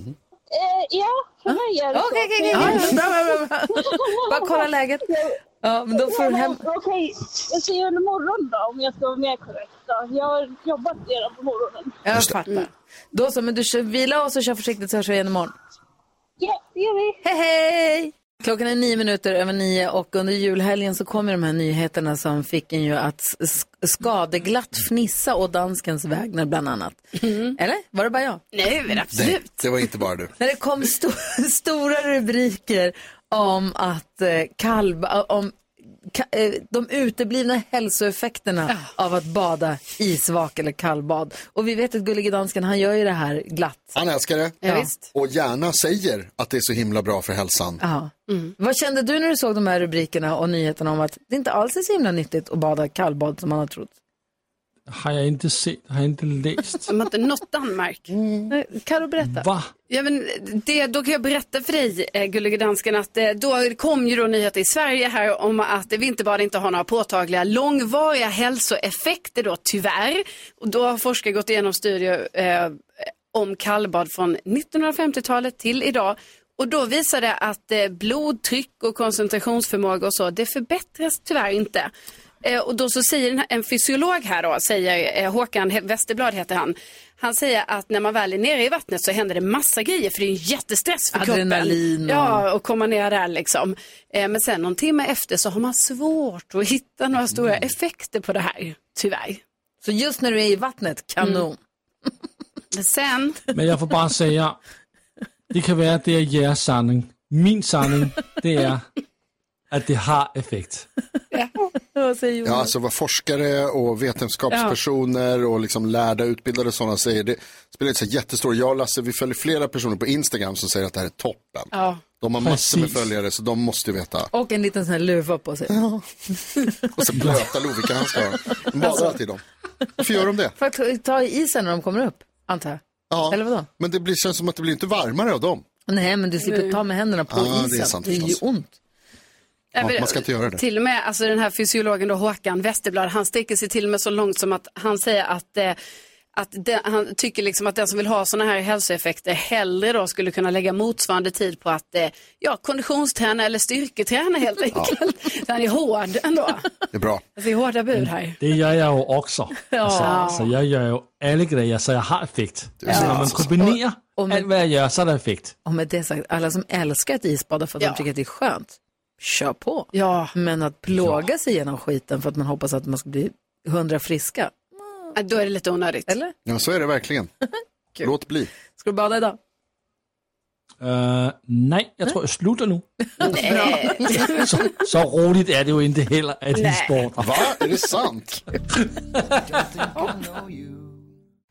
J: ja, för mig är det så.
A: Okej, okej, okej. Bra, bra, bra, bra. Bara kolla läget. Ja, men då får du hem...
J: Okej, jag säger under morgonen då om jag ska vara mer korrekt. Då. Jag har jobbat redan på morgonen.
A: Jag fattar. Då så, men du kör, vila och så kör försiktigt så hörs vi igen imorgon.
J: Ja, det gör vi.
A: Hej, hej! Klockan är nio minuter över nio och under julhelgen så kommer de här nyheterna som fick en ju att s- skadeglatt fnissa och danskens vägnar bland annat. Eller? Var det bara jag?
E: Nej, men
B: Nej, det var inte bara du.
A: När det kom sto- stora rubriker om att eh, kalv, om ka, eh, de uteblivna hälsoeffekterna av att bada isvak eller kallbad. Och vi vet att gullige dansken, han gör ju det här glatt.
B: Han älskar det.
A: Ja, visst.
B: Och gärna säger att det är så himla bra för hälsan.
A: Ja.
B: Mm.
A: Vad kände du när du såg de här rubrikerna och nyheterna om att det inte alls är så himla nyttigt att bada kallbad som man har trott?
C: Har jag inte sett, har jag inte läst.
E: De har inte nått Danmark.
A: Karo, berätta.
C: Va?
E: Ja, men det, då kan jag berätta för dig, eh, gullige dansken, att eh, då kom ju då nyheter i Sverige här om att eh, vinterbad inte har några påtagliga långvariga hälsoeffekter då, tyvärr. Och då har forskare gått igenom studier eh, om kallbad från 1950-talet till idag. Och då visar det att eh, blodtryck och koncentrationsförmåga och så, det förbättras tyvärr inte. Eh, och då så säger den här, en fysiolog här då, säger eh, Håkan He- Westerblad heter han. Han säger att när man väl är nere i vattnet så händer det massa grejer för det är en jättestress för
A: Adrenalin
E: kroppen.
A: och-
E: Ja, och komma ner där liksom. Eh, men sen någon timme efter så har man svårt att hitta några stora
A: Mm.
E: effekter på det här, tyvärr.
A: Så just när du är i vattnet, kanon.
B: Mm.
E: Men sen,
C: Men jag får bara säga, det kan vara att det är jeres sanning. Min sanning, det är att det har effekt.
A: Vad säger Jonas?
B: Ja, alltså vad forskare och vetenskapspersoner och liksom lärda, utbildade sådana säger, det spelar inte så jättestor Jag och Lasse, vi följer flera personer på Instagram som säger att det här är toppen.
E: ja.
B: De har massor med
C: Precis.
B: följare så de måste ju veta.
A: Och en liten sån här luva på sig.
B: Och så blöta Lovikkahandskar. De badar alltid i dem. Varför gör de det?
A: För att ta i isen när de kommer upp, antar jag.
B: Ja,
A: Eller vadå?
B: men det blir, känns som att det blir inte varmare av dem.
A: Nej, men du slipper ta med händerna på
B: Ja, det är
A: isen.
B: sant
A: det är ju
B: förstås.
A: ont.
B: Ja, man ska inte göra det.
E: Till och med alltså den här fysiologen då, Håkan Westerblad, han sträcker sig till och med så långt som att han säger att, eh, att den- han tycker liksom att den som vill ha sådana här hälsoeffekter hellre då skulle kunna lägga motsvarande tid på att eh, ja, konditionsträna eller styrketräna helt enkelt. Han är hård ändå.
B: Det är bra.
E: Alltså, det är hårda bud här.
C: Det gör jag ju också. Alltså, så jag gör ju alla grejer så jag har effekt. Så när man kombinerar
A: Och- och med-
C: allt vad jag gör så är det effekt.
A: Och med det sagt, alla som älskar att isbada för att de
E: Ja.
A: tycker att det är skönt, kör på.
E: Ja,
A: Men att plåga sig genom skiten för att man hoppas att man ska bli hundra friska.
E: då är det lite onödigt.
A: Eller?
B: Ja, så är det verkligen. Låt bli.
A: Ska du bada idag?
C: Eh, nej, jag tror jag slutar nu. så, så roligt är det ju inte heller att det är sport.
B: Va? Är det sant?